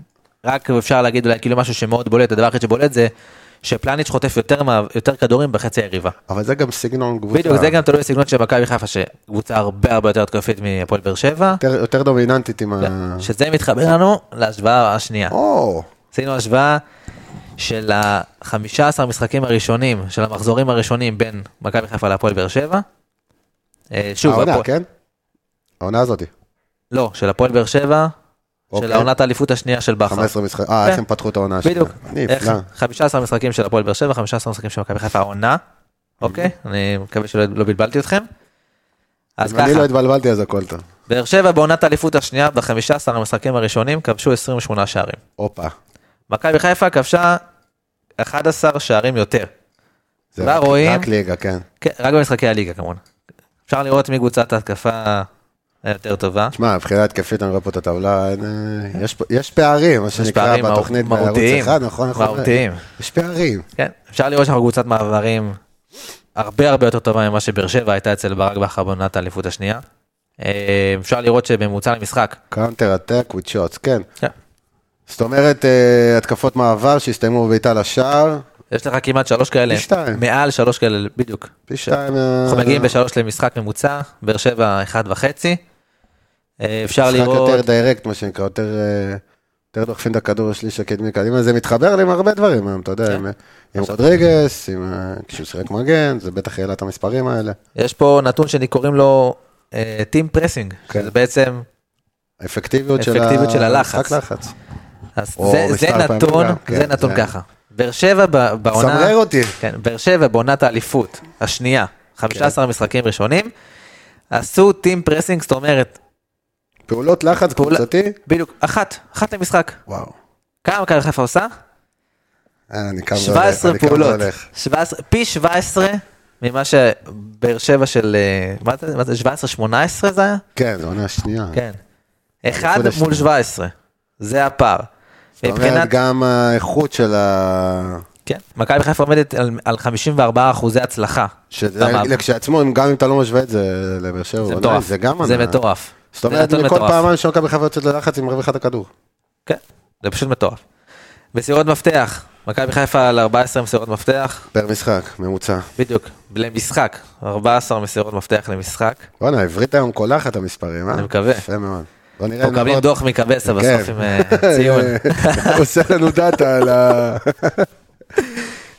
[SPEAKER 2] רק אפשר להגיד אולי כאילו משהו שמאוד בולט, הדבר היחיד שבולט זה שפלניץ' חוטף יותר, מה, יותר כדורים בחצי היריבה.
[SPEAKER 1] אבל זה גם סגנון קבוצה.
[SPEAKER 2] בדיוק, זה גם תלוי בסגנון של מכבי חיפה, שקבוצה הרבה הרבה יותר התקפית מהפועל באר שבע,
[SPEAKER 1] יותר, יותר דומיננטית עם ה...
[SPEAKER 2] שזה מתחבר לנו להשוואה השנייה.
[SPEAKER 1] או,
[SPEAKER 2] עשינו השוואה של ה-15 המשחקים הראשונים, של המחזורים הראשונים בין מכבי חיפה להפועל באר שבע. אה, שוב,
[SPEAKER 1] העונה,
[SPEAKER 2] הפועל-
[SPEAKER 1] כן? העונה הזאתי.
[SPEAKER 2] לא, של הפועל באר שבע, של
[SPEAKER 1] אוקיי.
[SPEAKER 2] העונת האליפות השנייה של בכר.
[SPEAKER 1] 15 משחק, אה, איך
[SPEAKER 2] כן.
[SPEAKER 1] הם פתחו את העונה
[SPEAKER 2] בדיוק. איך-
[SPEAKER 1] נפלא.
[SPEAKER 2] 15 משחקים של הפועל באר שבע, 15 משחקים של מכבי חיפה העונה, אוקיי? אני מקווה שלא לא בלבלתי אתכם. אז
[SPEAKER 1] אם אני
[SPEAKER 2] ככה,
[SPEAKER 1] לא התבלבלתי אז הכל טוב.
[SPEAKER 2] באר שבע בעונת האליפות השנייה, ב-15 המשחקים הראשונים, כבשו 28 שערים.
[SPEAKER 1] הופה.
[SPEAKER 2] מכבי חיפה כבשה 11 שערים יותר.
[SPEAKER 1] זה
[SPEAKER 2] כבר
[SPEAKER 1] רק-
[SPEAKER 2] רואים.
[SPEAKER 1] רק ליגה, כן.
[SPEAKER 2] כן, רק במשחקי הליגה כמובן. אפשר לראות מי קבוצת ההתקפה היותר טובה.
[SPEAKER 1] תשמע, מבחינה התקפית, אני רואה פה את הטבלה, אין, אה, יש פה- יש פערים, מה
[SPEAKER 2] יש
[SPEAKER 1] שנקרא,
[SPEAKER 2] פערים מהות-
[SPEAKER 1] בתוכנית בערוץ
[SPEAKER 2] מהותיים.
[SPEAKER 1] אחד, נכון? נכון.
[SPEAKER 2] מהותיים.
[SPEAKER 1] יש פערים.
[SPEAKER 2] כן, אפשר לראות שאנחנו קבוצת מעברים הרבה הרבה יותר טובה ממה שבאר שבע הייתה אצל ברק בכר בעונת האליפות השנייה. אה, אפשר לראות שבממוצע למשחק.
[SPEAKER 1] קאונטר אטק וויד שוטס, כן.
[SPEAKER 2] כן.
[SPEAKER 1] זאת אומרת, אה, התקפות מעבר שהסתיימו בבעיטה לשער,
[SPEAKER 2] יש לך כמעט שלוש כאלה,
[SPEAKER 1] פי שתיים.
[SPEAKER 2] מעל שלוש כאלה, בדיוק.
[SPEAKER 1] פי שתיים. אה,
[SPEAKER 2] אנחנו מגיעים בשלוש למשחק ממוצע, באר שבע אחד וחצי. אה, אפשר
[SPEAKER 1] משחק
[SPEAKER 2] לראות,
[SPEAKER 1] יותר דיירקט, מה שנקרא, יותר... אה, יותר דוחפים את הכדור לשליש הקדמי קדימה, זה מתחבר לי עם הרבה דברים היום, אתה
[SPEAKER 2] כן.
[SPEAKER 1] יודע, עם- אה, עם רודריגס, עם, אה, כשהוא שיחק מגן, זה בטח העלה את המספרים האלה.
[SPEAKER 2] יש פה נתון שקוראים לו אה, טים פרסינג,
[SPEAKER 1] כן.
[SPEAKER 2] שזה בעצם
[SPEAKER 1] האפקטיביות של,
[SPEAKER 2] האפקטיביות של הלחץ.
[SPEAKER 1] משחק לחץ.
[SPEAKER 2] אז
[SPEAKER 1] או
[SPEAKER 2] זה, זה
[SPEAKER 1] מספר פעמים
[SPEAKER 2] נתון,
[SPEAKER 1] גם,
[SPEAKER 2] זה
[SPEAKER 1] כן,
[SPEAKER 2] נתון
[SPEAKER 1] זה-
[SPEAKER 2] ככה. באר שבע ב- בעונה...
[SPEAKER 1] סמרר אותי.
[SPEAKER 2] כן, באר שבע בעונת האליפות, השנייה,
[SPEAKER 1] כן.
[SPEAKER 2] 15 משחקים ראשונים, עשו טים פרסינג, זאת אומרת,
[SPEAKER 1] פעולות לחץ
[SPEAKER 2] פעולה-
[SPEAKER 1] קבוצתי?
[SPEAKER 2] בדיוק, אחת, אחת למשחק.
[SPEAKER 1] וואו.
[SPEAKER 2] כמה מכבי חיפה עושה?
[SPEAKER 1] אה, אני קם והולך,
[SPEAKER 2] 17
[SPEAKER 1] אני קם
[SPEAKER 2] פעולות.
[SPEAKER 1] והולך.
[SPEAKER 2] 17, פי 17 ממה שבאר שבע של... אה, מה זה? מה זה? 17-18 זה היה?
[SPEAKER 1] כן, זו עונה שנייה.
[SPEAKER 2] כן. אחד
[SPEAKER 1] האליפות
[SPEAKER 2] מול
[SPEAKER 1] השנייה.
[SPEAKER 2] 17. זה הפער.
[SPEAKER 1] זאת אומרת,
[SPEAKER 2] מבחינת...
[SPEAKER 1] גם האיכות של ה...
[SPEAKER 2] כן. מכבי חיפה עומדת על- על 54 אחוזי הצלחה.
[SPEAKER 1] שזה
[SPEAKER 2] סבבה.
[SPEAKER 1] כשלעצמו, אם- גם אם אתה לא משווה את זה לבאר שבע,
[SPEAKER 2] זה
[SPEAKER 1] עונה,
[SPEAKER 2] מטורף.
[SPEAKER 1] זה גם
[SPEAKER 2] זה
[SPEAKER 1] עונה.
[SPEAKER 2] מטורף.
[SPEAKER 1] זאת אומרת,
[SPEAKER 2] זה נתון
[SPEAKER 1] מכל
[SPEAKER 2] מטורף.
[SPEAKER 1] פעמיים שמכבי חיפה יוצאת ללחץ, היא מרוויחה את הכדור.
[SPEAKER 2] כן, זה פשוט מטורף. מסירות מפתח, מכבי חיפה על 14 מסירות מפתח,
[SPEAKER 1] פר משחק, ממוצע.
[SPEAKER 2] בדיוק, למשחק, 14 מסירות מפתח למשחק.
[SPEAKER 1] בואנה, עברית היום קולחת את המספרים, אה?
[SPEAKER 2] אני מקווה.
[SPEAKER 1] יפה מאוד. בוא נראה.
[SPEAKER 2] אנחנו מקבלים
[SPEAKER 1] נעבור-
[SPEAKER 2] דוח מקבסה
[SPEAKER 1] כן.
[SPEAKER 2] בסוף עם אה, ציון.
[SPEAKER 1] הוא עושה לנו דאטה על ה...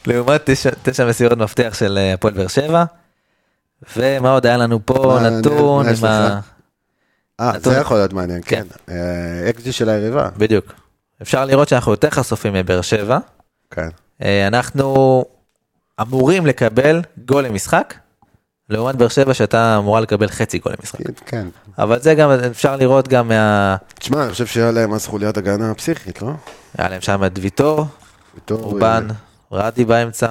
[SPEAKER 2] לעומת תשע- תשע מסירות מפתח של אה, הפועל באר שבע. ומה עוד היה לנו פה
[SPEAKER 1] מה,
[SPEAKER 2] נתון
[SPEAKER 1] מה יש
[SPEAKER 2] עם ה...
[SPEAKER 1] לך? אה, זה
[SPEAKER 2] נתון.
[SPEAKER 1] יכול להיות מעניין, כן. אקזי של היריבה.
[SPEAKER 2] בדיוק. אפשר לראות שאנחנו יותר חשופים מבאר שבע.
[SPEAKER 1] כן.
[SPEAKER 2] אה, אנחנו אמורים לקבל גול למשחק, לעומת באר שבע שהייתה אמורה לקבל חצי גול למשחק.
[SPEAKER 1] כן, כן.
[SPEAKER 2] אבל זה גם אפשר לראות גם מה...
[SPEAKER 1] תשמע, אני חושב שהיה להם אז חוליית הגנה פסיכית, לא? אה,
[SPEAKER 2] היה להם שם את ויטור,
[SPEAKER 1] בתור-
[SPEAKER 2] אורבן, רדי באמצע.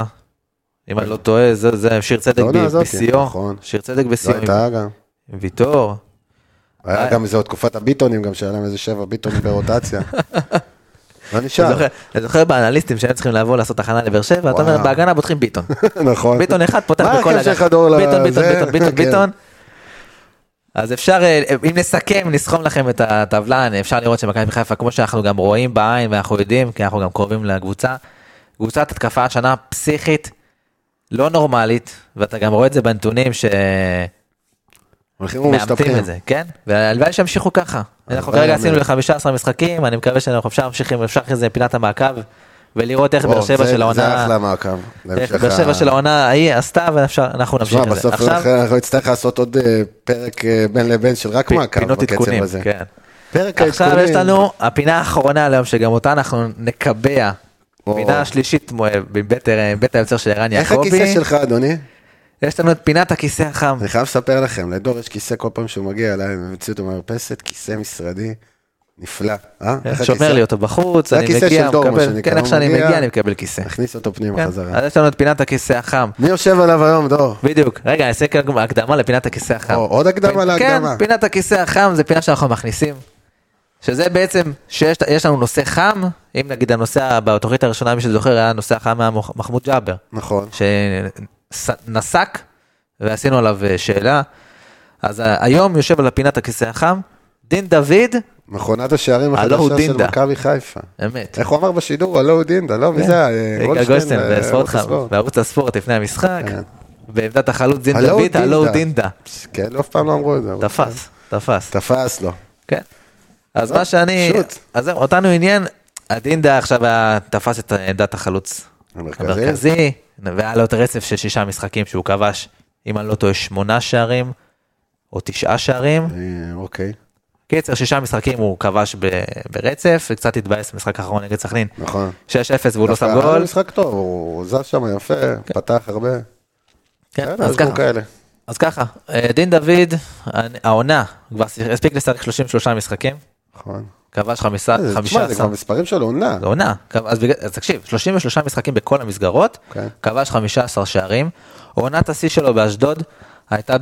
[SPEAKER 2] אם אני לא טועה, זה, זה שיר צדק
[SPEAKER 1] העונה
[SPEAKER 2] ב-
[SPEAKER 1] הזאת,
[SPEAKER 2] בשיאו,
[SPEAKER 1] נכון.
[SPEAKER 2] שיר צדק
[SPEAKER 1] לא
[SPEAKER 2] בשיאו, עם-
[SPEAKER 1] הייתה גם.
[SPEAKER 2] עם ויטור, אה.
[SPEAKER 1] היה גם איזה עוד תקופת הביטונים, גם שהיה להם איזה שבע ביטונים ברוטציה. לא
[SPEAKER 2] אתה
[SPEAKER 1] נשאר,
[SPEAKER 2] זוכר- אתה זוכר באנליסטים שהיו צריכים לבוא לעשות הכנה לבאר שבע, אתה אומר
[SPEAKER 1] וואו.
[SPEAKER 2] בהגנה פותחים ביטון,
[SPEAKER 1] נכון.
[SPEAKER 2] ביטון אחד פותח
[SPEAKER 1] מה
[SPEAKER 2] בכל
[SPEAKER 1] ההרכב
[SPEAKER 2] הגנה,
[SPEAKER 1] שלך, דור, ל-
[SPEAKER 2] ביטון, ביטון,
[SPEAKER 1] זה?
[SPEAKER 2] ביטון, ביטון,
[SPEAKER 1] כן.
[SPEAKER 2] ביטון, אז אפשר, אה, אם נסכם, נסכום לכם את הטבלה, אה, אפשר לראות שמכבי חיפה, כמו שאנחנו גם רואים בעין ואנחנו יודעים, כי אנחנו גם קרובים לקבוצה, קבוצת התקפה השנה פסיכית, לא נורמלית, ואתה גם רואה את זה בנתונים שמאמתים
[SPEAKER 1] הולכים ומשתפכים.
[SPEAKER 2] את זה, כן? והלוואי שימשיכו ככה. אנחנו
[SPEAKER 1] הלוואי,
[SPEAKER 2] כרגע עשינו
[SPEAKER 1] אמן.
[SPEAKER 2] ל-15 משחקים, אני מקווה שאנחנו אפשר להמשיך, אם אפשר אחרי זה פינת המעקב, ולראות איך באר
[SPEAKER 1] וואו,
[SPEAKER 2] שבע
[SPEAKER 1] זה-
[SPEAKER 2] של
[SPEAKER 1] זה
[SPEAKER 2] העונה,
[SPEAKER 1] אחלה מעקב.
[SPEAKER 2] איך
[SPEAKER 1] להמשך
[SPEAKER 2] באר שבע
[SPEAKER 1] ה-
[SPEAKER 2] כן, של העונה ההיא עשתה, ואנחנו נמשיך
[SPEAKER 1] תשמע,
[SPEAKER 2] את זה.
[SPEAKER 1] בסוף אנחנו נצטרך לעשות עוד אה, פרק אה, בין לבין של רק מעקב.
[SPEAKER 2] פינות
[SPEAKER 1] בקצב
[SPEAKER 2] עדכונים,
[SPEAKER 1] הזה.
[SPEAKER 2] כן.
[SPEAKER 1] פרק
[SPEAKER 2] עכשיו
[SPEAKER 1] העדכונים.
[SPEAKER 2] יש לנו הפינה האחרונה להיום, שגם אותה אנחנו נקבע.
[SPEAKER 1] או.
[SPEAKER 2] פינה השלישית מ- מבית בית היוצר של ערן
[SPEAKER 1] איך
[SPEAKER 2] יעקבי.
[SPEAKER 1] הכיסא שלך, אדוני?
[SPEAKER 2] יש לנו את פינת הכיסא החם.
[SPEAKER 1] אני חייב לספר לכם, לדור יש כיסא כל פעם שהוא מגיע אליי, הם הוציאו אותו מהמרפסת, כיסא משרדי, נפלא. אה? איך
[SPEAKER 2] כן, שומר
[SPEAKER 1] הכיסא?
[SPEAKER 2] לי אותו בחוץ,
[SPEAKER 1] זה
[SPEAKER 2] אני
[SPEAKER 1] הכיסא
[SPEAKER 2] מגיע,
[SPEAKER 1] של דור, מה
[SPEAKER 2] מקבל,
[SPEAKER 1] שנקרא,
[SPEAKER 2] כן, איך
[SPEAKER 1] הוא
[SPEAKER 2] שאני
[SPEAKER 1] מגיע.
[SPEAKER 2] מגיע אני מקבל כיסא.
[SPEAKER 1] תכניס אותו
[SPEAKER 2] כן,
[SPEAKER 1] פנימה חזרה.
[SPEAKER 2] אז יש לנו את פינת הכיסא החם.
[SPEAKER 1] מי יושב עליו היום, דור?
[SPEAKER 2] בדיוק, רגע, אני אעשה גם הקדמה לפינת הכיסא החם.
[SPEAKER 1] או, עוד הקדמה
[SPEAKER 2] פ-
[SPEAKER 1] להקדמה.
[SPEAKER 2] אה, כן, פינת הכיסא החם זה פינה שאנחנו מכניסים. שזה בעצם, שיש יש לנו נושא חם, אם נגיד הנושא בתוכנית הראשונה, מי שזוכר, היה הנושא החם היה מוח- מחמוד ג'אבר,
[SPEAKER 1] נכון.
[SPEAKER 2] שנסק ועשינו עליו אה, שאלה. אז ה- היום יושב על הפינת הכיסא החם, דין דוד,
[SPEAKER 1] מכונת השערים
[SPEAKER 2] הלא
[SPEAKER 1] החדשה
[SPEAKER 2] הוא
[SPEAKER 1] של
[SPEAKER 2] דינדה.
[SPEAKER 1] מכבי חיפה.
[SPEAKER 2] אמת.
[SPEAKER 1] איך הוא אמר בשידור? הלא הוא דינדה, לא? מי זה? היה? אה,
[SPEAKER 2] יגאל
[SPEAKER 1] גולדשטיין,
[SPEAKER 2] כן. גולדשטיין
[SPEAKER 1] אה,
[SPEAKER 2] בספורט
[SPEAKER 1] ערוץ
[SPEAKER 2] חם,
[SPEAKER 1] הספורט.
[SPEAKER 2] בערוץ הספורט לפני המשחק,
[SPEAKER 1] כן.
[SPEAKER 2] בעמדת החלוץ דין
[SPEAKER 1] הלא הוא
[SPEAKER 2] דוד, הלא הוא
[SPEAKER 1] דינדה.
[SPEAKER 2] דינדה.
[SPEAKER 1] כן, אף פעם לא אמרו את זה. אבל-
[SPEAKER 2] תפס, תפס.
[SPEAKER 1] תפס לו.
[SPEAKER 2] כן. אז
[SPEAKER 1] טוב,
[SPEAKER 2] מה שאני,
[SPEAKER 1] שוט.
[SPEAKER 2] אז זהו, אותנו עניין, הדינדה עכשיו היה- תפס את עמדת החלוץ
[SPEAKER 1] המרכזי.
[SPEAKER 2] המרכזי, והיה לו את רצף של שישה משחקים שהוא כבש, אם אני לא טועה, שמונה שערים, או תשעה שערים.
[SPEAKER 1] אה, אוקיי,
[SPEAKER 2] קיצר, שישה משחקים הוא כבש ב- ברצף, וקצת התבאס במשחק האחרון נגד סכנין,
[SPEAKER 1] נכון.
[SPEAKER 2] 6-0 והוא לא
[SPEAKER 1] דווקא
[SPEAKER 2] שם
[SPEAKER 1] היה לו
[SPEAKER 2] גול.
[SPEAKER 1] משחק טוב, הוא זז שם יפה, פתח הרבה.
[SPEAKER 2] כן,
[SPEAKER 1] כן,
[SPEAKER 2] אז
[SPEAKER 1] אז כמו
[SPEAKER 2] ככה,
[SPEAKER 1] כאלה.
[SPEAKER 2] אז ככה, אה, דין דוד, הנ- העונה, כבר ש- הספיק לשחק 33 משחקים,
[SPEAKER 1] נכון.
[SPEAKER 2] כבש חמישה- לא.
[SPEAKER 1] אה, זה- תשמע, זה
[SPEAKER 2] 15.
[SPEAKER 1] כבר מספרים של עונה.
[SPEAKER 2] זה עונה, אז, בגלל- אז תקשיב, 33 משחקים בכל המסגרות,
[SPEAKER 1] אוקיי.
[SPEAKER 2] כבש 15 שערים, עונת השיא שלו באשדוד הייתה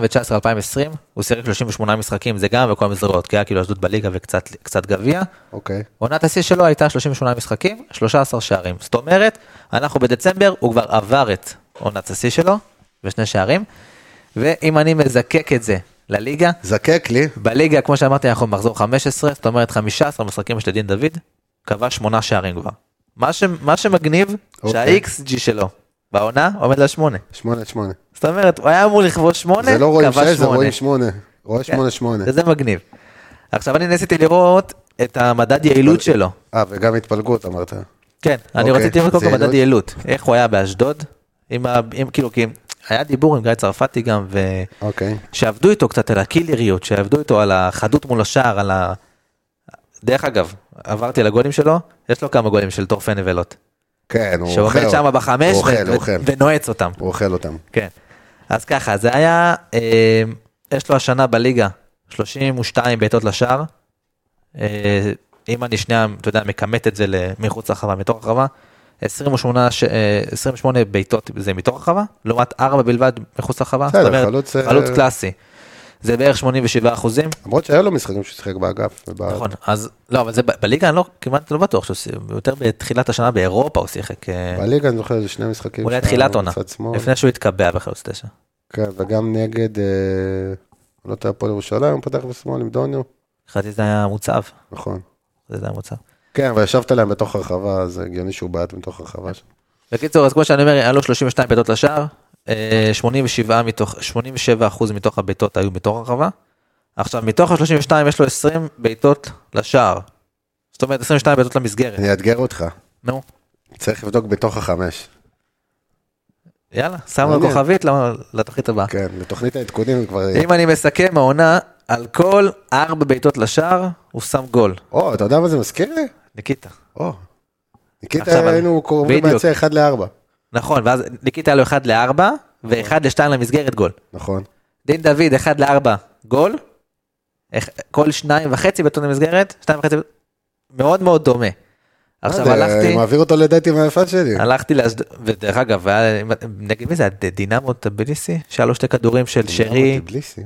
[SPEAKER 2] ב-2019-2020, הוא שיחק 38 משחקים, זה גם בכל המסגרות, כי היה כאילו אשדוד בליגה וקצת קצת גביע,
[SPEAKER 1] אוקיי.
[SPEAKER 2] עונת השיא שלו הייתה 38 משחקים, 13 שערים, זאת אומרת, אנחנו בדצמבר, הוא כבר עבר את עונת השיא שלו, ושני שערים, ואם אני מזקק את זה לליגה,
[SPEAKER 1] זקק לי,
[SPEAKER 2] בליגה, כמו שאמרתי, אנחנו במחזור 15, זאת אומרת 15 משחקים של דין דוד, קבע 8 שערים כבר. מה, ש, מה שמגניב,
[SPEAKER 1] אוקיי.
[SPEAKER 2] שה-XG שלו בעונה עומד על 8.
[SPEAKER 1] שמונה שמונה.
[SPEAKER 2] זאת אומרת, הוא היה אמור לכבוש 8,
[SPEAKER 1] זה לא רואים
[SPEAKER 2] קבע
[SPEAKER 1] שש, זה
[SPEAKER 2] 8.
[SPEAKER 1] רואים שמונה. רואה
[SPEAKER 2] כן.
[SPEAKER 1] שמונה שמונה.
[SPEAKER 2] וזה מגניב. עכשיו אני ניסיתי לראות את המדד יעילות שלו.
[SPEAKER 1] אה, וגם התפלגות אמרת.
[SPEAKER 2] כן, אני
[SPEAKER 1] אוקיי,
[SPEAKER 2] רציתי לראות קודם כל
[SPEAKER 1] זה
[SPEAKER 2] מדד יעילות. איך הוא היה באשדוד, עם ה... עם, כאילו, כי היה דיבור עם גיא צרפתי גם, ו...
[SPEAKER 1] אוקיי.
[SPEAKER 2] שעבדו איתו קצת על הקילריות, שעבדו איתו על החדות מול השער, על ה... דרך אגב, עברתי על הגולים שלו, יש לו כמה גולים של טורפי נבלות.
[SPEAKER 1] כן, הוא אוכל.
[SPEAKER 2] שעומד שם בחמש
[SPEAKER 1] הוא אוכל,
[SPEAKER 2] ו-
[SPEAKER 1] הוא
[SPEAKER 2] ו-
[SPEAKER 1] אוכל.
[SPEAKER 2] ונועץ אותם.
[SPEAKER 1] הוא אוכל אותם.
[SPEAKER 2] כן. אז ככה, זה היה, אה, יש לו השנה בליגה 32 בעיטות לשער. אה, אם אני שנייה, אתה יודע, מכמת את זה ל- מחוץ לרחבה, מתוך הרחבה, 28, ש- אה, 28 בעיטות זה מתוך הרחבה, לעומת 4 בלבד מחוץ לרחבה.
[SPEAKER 1] בסדר,
[SPEAKER 2] זאת אומרת,
[SPEAKER 1] חלוץ, אה,
[SPEAKER 2] חלוץ קלאסי. זה בערך 87 אחוזים.
[SPEAKER 1] למרות שהיה לו משחקים שהוא שיחק באגף. וב-
[SPEAKER 2] נכון, אז לא, אבל זה ב- בליגה אני לא, כמעט לא בטוח שהוא שיחק, יותר בתחילת השנה באירופה הוא שיחק, אה,
[SPEAKER 1] בליגה אני זוכר איזה שני משחקים.
[SPEAKER 2] אולי
[SPEAKER 1] שהיה
[SPEAKER 2] תחילת עונה,
[SPEAKER 1] בצד שמאל.
[SPEAKER 2] לפני שהוא התקבע בחלוץ תשע.
[SPEAKER 1] כן, וגם נגד, אה, לא טועה, הפועל ירושלים, הוא פתח בשמאל עם דוניו.
[SPEAKER 2] חשבתי שזה היה מוצב,
[SPEAKER 1] נכון.
[SPEAKER 2] זה היה מוצב.
[SPEAKER 1] כן, וישבת להם בתוך הרחבה, אז הגיוני שהוא בעט בתוך הרחבה שם.
[SPEAKER 2] בקיצור, אז כמו שאני אומר, היה לו 32 בעיטות לשער, אה, 87 מתוך, 87 אחוז מתוך הבעיטות היו מתוך הרחבה. עכשיו, מתוך ה-32 יש לו 20 בעיטות לשער. זאת אומרת, 22 בעיטות למסגרת.
[SPEAKER 1] אני אאתגר אותך,
[SPEAKER 2] נו,
[SPEAKER 1] צריך לבדוק בתוך החמש.
[SPEAKER 2] יאללה, שמנו
[SPEAKER 1] מעניין.
[SPEAKER 2] כוכבית למ- לתוכנית הבאה.
[SPEAKER 1] כן, לתוכנית העדכונים כבר...
[SPEAKER 2] אם אני מסכם העונה, על כל 4 בעיטות לשער, הוא שם גול.
[SPEAKER 1] או, אתה יודע מה זה מזכיר לי?
[SPEAKER 2] ניקיטה.
[SPEAKER 1] או.
[SPEAKER 2] עכשיו,
[SPEAKER 1] ניקיטה היינו קרובים
[SPEAKER 2] בדיוק.
[SPEAKER 1] מהצה 1 ל-4.
[SPEAKER 2] נכון, ואז ניקיטה היה לו 1 ל-4, ו-1 ל-2 למסגרת גול.
[SPEAKER 1] נכון.
[SPEAKER 2] דין דוד, 1 ל-4, גול. איך- כל שניים וחצי בטון למסגרת, שניים וחצי, מאוד מאוד דומה. עכשיו
[SPEAKER 1] מה זה,
[SPEAKER 2] הלכתי,
[SPEAKER 1] אה, אני מעביר אותו לדייט עם היפת שלי.
[SPEAKER 2] הלכתי לאשדוד, ודרך אגב, היה- נגד מי זה, היה? דינמו טביליסי? שהיה לו שתי כדורים של שרי,
[SPEAKER 1] טבליסי.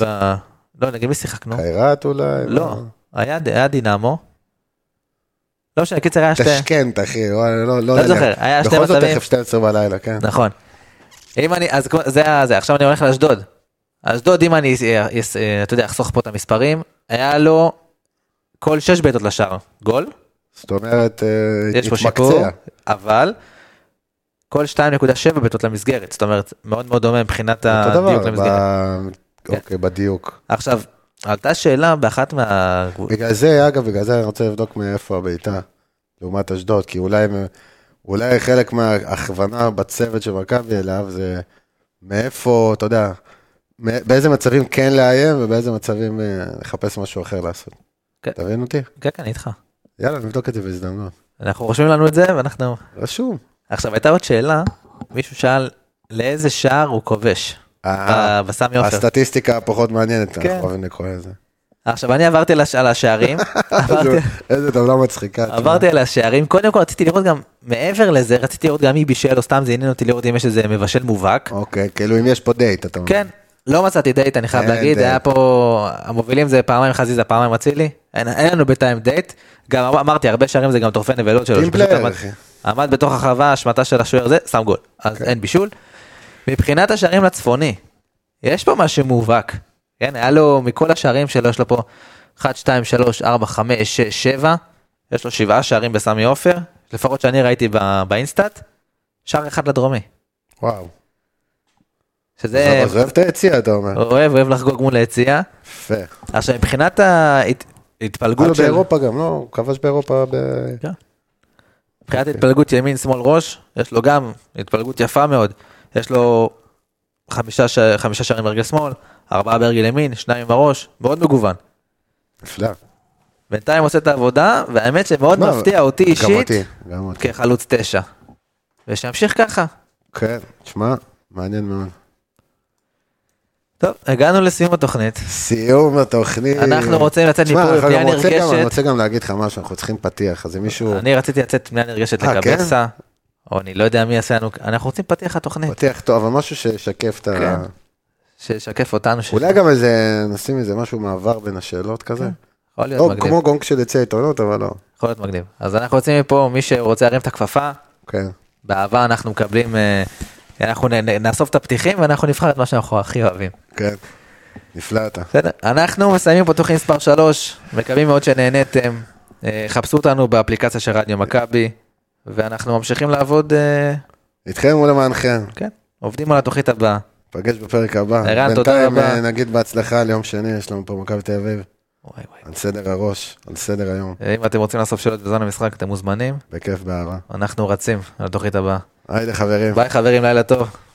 [SPEAKER 2] ב- לא, נגד מי שיחקנו?
[SPEAKER 1] חיירת אולי?
[SPEAKER 2] לא,
[SPEAKER 1] מה?
[SPEAKER 2] היה היה דינמו. לא משנה, קיצר היה שתי...
[SPEAKER 1] תשכנת, אחי. וואי, לא- לא
[SPEAKER 2] לא
[SPEAKER 1] נלך.
[SPEAKER 2] זוכר, היה שתי
[SPEAKER 1] בכל זאת
[SPEAKER 2] מצבים.
[SPEAKER 1] תכף 12 בלילה, כן.
[SPEAKER 2] נכון. אם אני, אז כמו- זה ה- זה, עכשיו אני הולך לאשדוד. אשדוד, אם אני, אה, יס- אה, אתה יודע, אחסוך פה את המספרים, היה לו כל שש בעיטות לשער גול,
[SPEAKER 1] זאת אומרת, אה,
[SPEAKER 2] יש פה שיפור,
[SPEAKER 1] התמקצע.
[SPEAKER 2] אבל כל 2.7 בעיטות למסגרת, זאת אומרת, מאוד מאוד דומה מבחינת
[SPEAKER 1] אותו
[SPEAKER 2] הדיוק
[SPEAKER 1] דבר.
[SPEAKER 2] למסגרת.
[SPEAKER 1] ב- אוקיי, בדיוק.
[SPEAKER 2] עכשיו, עלתה שאלה באחת מה...
[SPEAKER 1] בגלל זה, אגב, בגלל זה אני רוצה לבדוק מאיפה הבעיטה, לעומת אשדוד, כי אולי, אולי חלק מההכוונה בצוות של מכבי אליו זה מאיפה, אתה יודע, מא- באיזה מצבים כן לאיים ובאיזה מצבים אה, לחפש משהו אחר לעשות.
[SPEAKER 2] כן.
[SPEAKER 1] אתה מבין אותי?
[SPEAKER 2] כן, כן, אני איתך.
[SPEAKER 1] יאללה, נבדוק את זה בהזדמנות.
[SPEAKER 2] אנחנו רושמים לנו את זה, ואנחנו...
[SPEAKER 1] רשום.
[SPEAKER 2] עכשיו, הייתה עוד שאלה, מישהו שאל לאיזה שער הוא כובש,
[SPEAKER 1] אה,
[SPEAKER 2] ב- בסמי עופר.
[SPEAKER 1] הסטטיסטיקה הפחות מעניינת,
[SPEAKER 2] כן.
[SPEAKER 1] אנחנו אוהבים לקרוא לזה.
[SPEAKER 2] עכשיו אני עברתי על הש- על השערים, עברתי-
[SPEAKER 1] איזה טבלה מצחיקה. תשמע.
[SPEAKER 2] עברתי על השערים, קודם כל רציתי לראות גם מעבר לזה, רציתי לראות גם מי בישל או סתם זה עניין אותי לראות אם יש איזה מבשל מובהק,
[SPEAKER 1] אוקיי, כאילו אם יש פה דייט, אתה מבין.
[SPEAKER 2] כן, לא מצאתי דייט אני חייב
[SPEAKER 1] אין דייט.
[SPEAKER 2] להגיד, היה פה, המובילים זה פעמיים חזיזה, פעמיים אצילי, אין- אין לנו בינתיים דייט, גם אמר- אמרתי הרבה שערים זה גם טורפי נבלות שלו,
[SPEAKER 1] טים
[SPEAKER 2] שפשוט
[SPEAKER 1] פלייר,
[SPEAKER 2] עמד-
[SPEAKER 1] אחי.
[SPEAKER 2] עמד בתוך החווה, השמטה של השוער זה, שם גול, אז אין בישול. מבחינת השערים לצפוני, יש פה משהו מובהק. כן, היה לו מכל השערים שלו, יש לו פה 1, 2, 3, 4, 5, 6, 7, יש לו שבעה שערים בסמי עופר, לפחות שאני ראיתי ב- באינסטאט, שער אחד לדרומי.
[SPEAKER 1] וואו.
[SPEAKER 2] שזה
[SPEAKER 1] אז אוהב את היציאה, אתה אומר.
[SPEAKER 2] אוהב, אוהב לחגוג מול היציאה.
[SPEAKER 1] יפה.
[SPEAKER 2] עכשיו מבחינת
[SPEAKER 1] גול
[SPEAKER 2] ההתפלגות של...
[SPEAKER 1] באירופה גם, לא? הוא כבש באירופה ב...
[SPEAKER 2] מבחינת
[SPEAKER 1] אוקיי.
[SPEAKER 2] התפלגות ימין שמאל ראש, יש לו גם התפלגות יפה מאוד. יש לו חמישה, ש... חמישה שערים ברגל שמאל, ארבעה ברגל ימין, שניים עם הראש, מאוד מגוון.
[SPEAKER 1] נפלא.
[SPEAKER 2] בינתיים עושה את העבודה, והאמת שמאוד
[SPEAKER 1] מה,
[SPEAKER 2] מפתיע אותי
[SPEAKER 1] גם
[SPEAKER 2] אישית
[SPEAKER 1] אותי, גם אותי.
[SPEAKER 2] כחלוץ תשע. ושימשיך ככה.
[SPEAKER 1] כן, תשמע, מעניין מאוד.
[SPEAKER 2] טוב, הגענו לסיום התוכנית.
[SPEAKER 1] סיום התוכנית.
[SPEAKER 2] אנחנו רוצים לצאת
[SPEAKER 1] תשמע,
[SPEAKER 2] מפה
[SPEAKER 1] אה, אנחנו
[SPEAKER 2] בפנייה
[SPEAKER 1] גם רוצים גם- אני
[SPEAKER 2] נרגשת.
[SPEAKER 1] רוצה גם להגיד לך משהו, אנחנו צריכים פתיח, אז אם מישהו...
[SPEAKER 2] אני רציתי לצאת פנייה נרגשת
[SPEAKER 1] אה, כן?
[SPEAKER 2] לקבסה, או אני לא יודע מי יעשה לנו, אנחנו רוצים פתיח התוכנית,
[SPEAKER 1] פתיח טוב, אבל משהו שישקף את ה...
[SPEAKER 2] כן. שישקף אותנו, ש-
[SPEAKER 1] אולי גם איזה, נשים איזה משהו מעבר בין השאלות כזה.
[SPEAKER 2] יכול להיות
[SPEAKER 1] או
[SPEAKER 2] כן, מגניב.
[SPEAKER 1] כמו גונג של יצא עיתונות, אבל לא.
[SPEAKER 2] יכול להיות מגניב. אז אנחנו יוצאים מפה, מי שרוצה להרים את הכפפה,
[SPEAKER 1] כן.
[SPEAKER 2] באהבה אנחנו מקבלים, אה, אנחנו נ- נ- נאסוף את הפתיחים ואנחנו נבחר את מה שאנחנו הכי אוהבים.
[SPEAKER 1] כן. נפלא אתה.
[SPEAKER 2] בסדר? אנחנו מסיימים פה תוכנית מספר 3, מקווים מאוד שנהניתם. אה, חפשו אותנו באפליקציה של רדיו מכבי, ואנחנו ממשיכים לעבוד, אה,
[SPEAKER 1] איתכם ולמענכם.
[SPEAKER 2] כן, עובדים על התוכנית הבאה.
[SPEAKER 1] נפגש בפרק הבא.
[SPEAKER 2] ערן, תודה
[SPEAKER 1] בינתיים
[SPEAKER 2] רבה.
[SPEAKER 1] אה, נגיד בהצלחה ליום שני, יש לנו פה מכבי תל אביב.
[SPEAKER 2] וואי וואי.
[SPEAKER 1] על סדר הראש, על סדר היום.
[SPEAKER 2] אה, אם אתם רוצים לעשות שאלות בזמן המשחק, אתם מוזמנים,
[SPEAKER 1] בכיף באהבה.
[SPEAKER 2] אנחנו רצים על התוכנית הבאה.
[SPEAKER 1] כן. היי חברים.
[SPEAKER 2] ביי חברים, לילה טוב.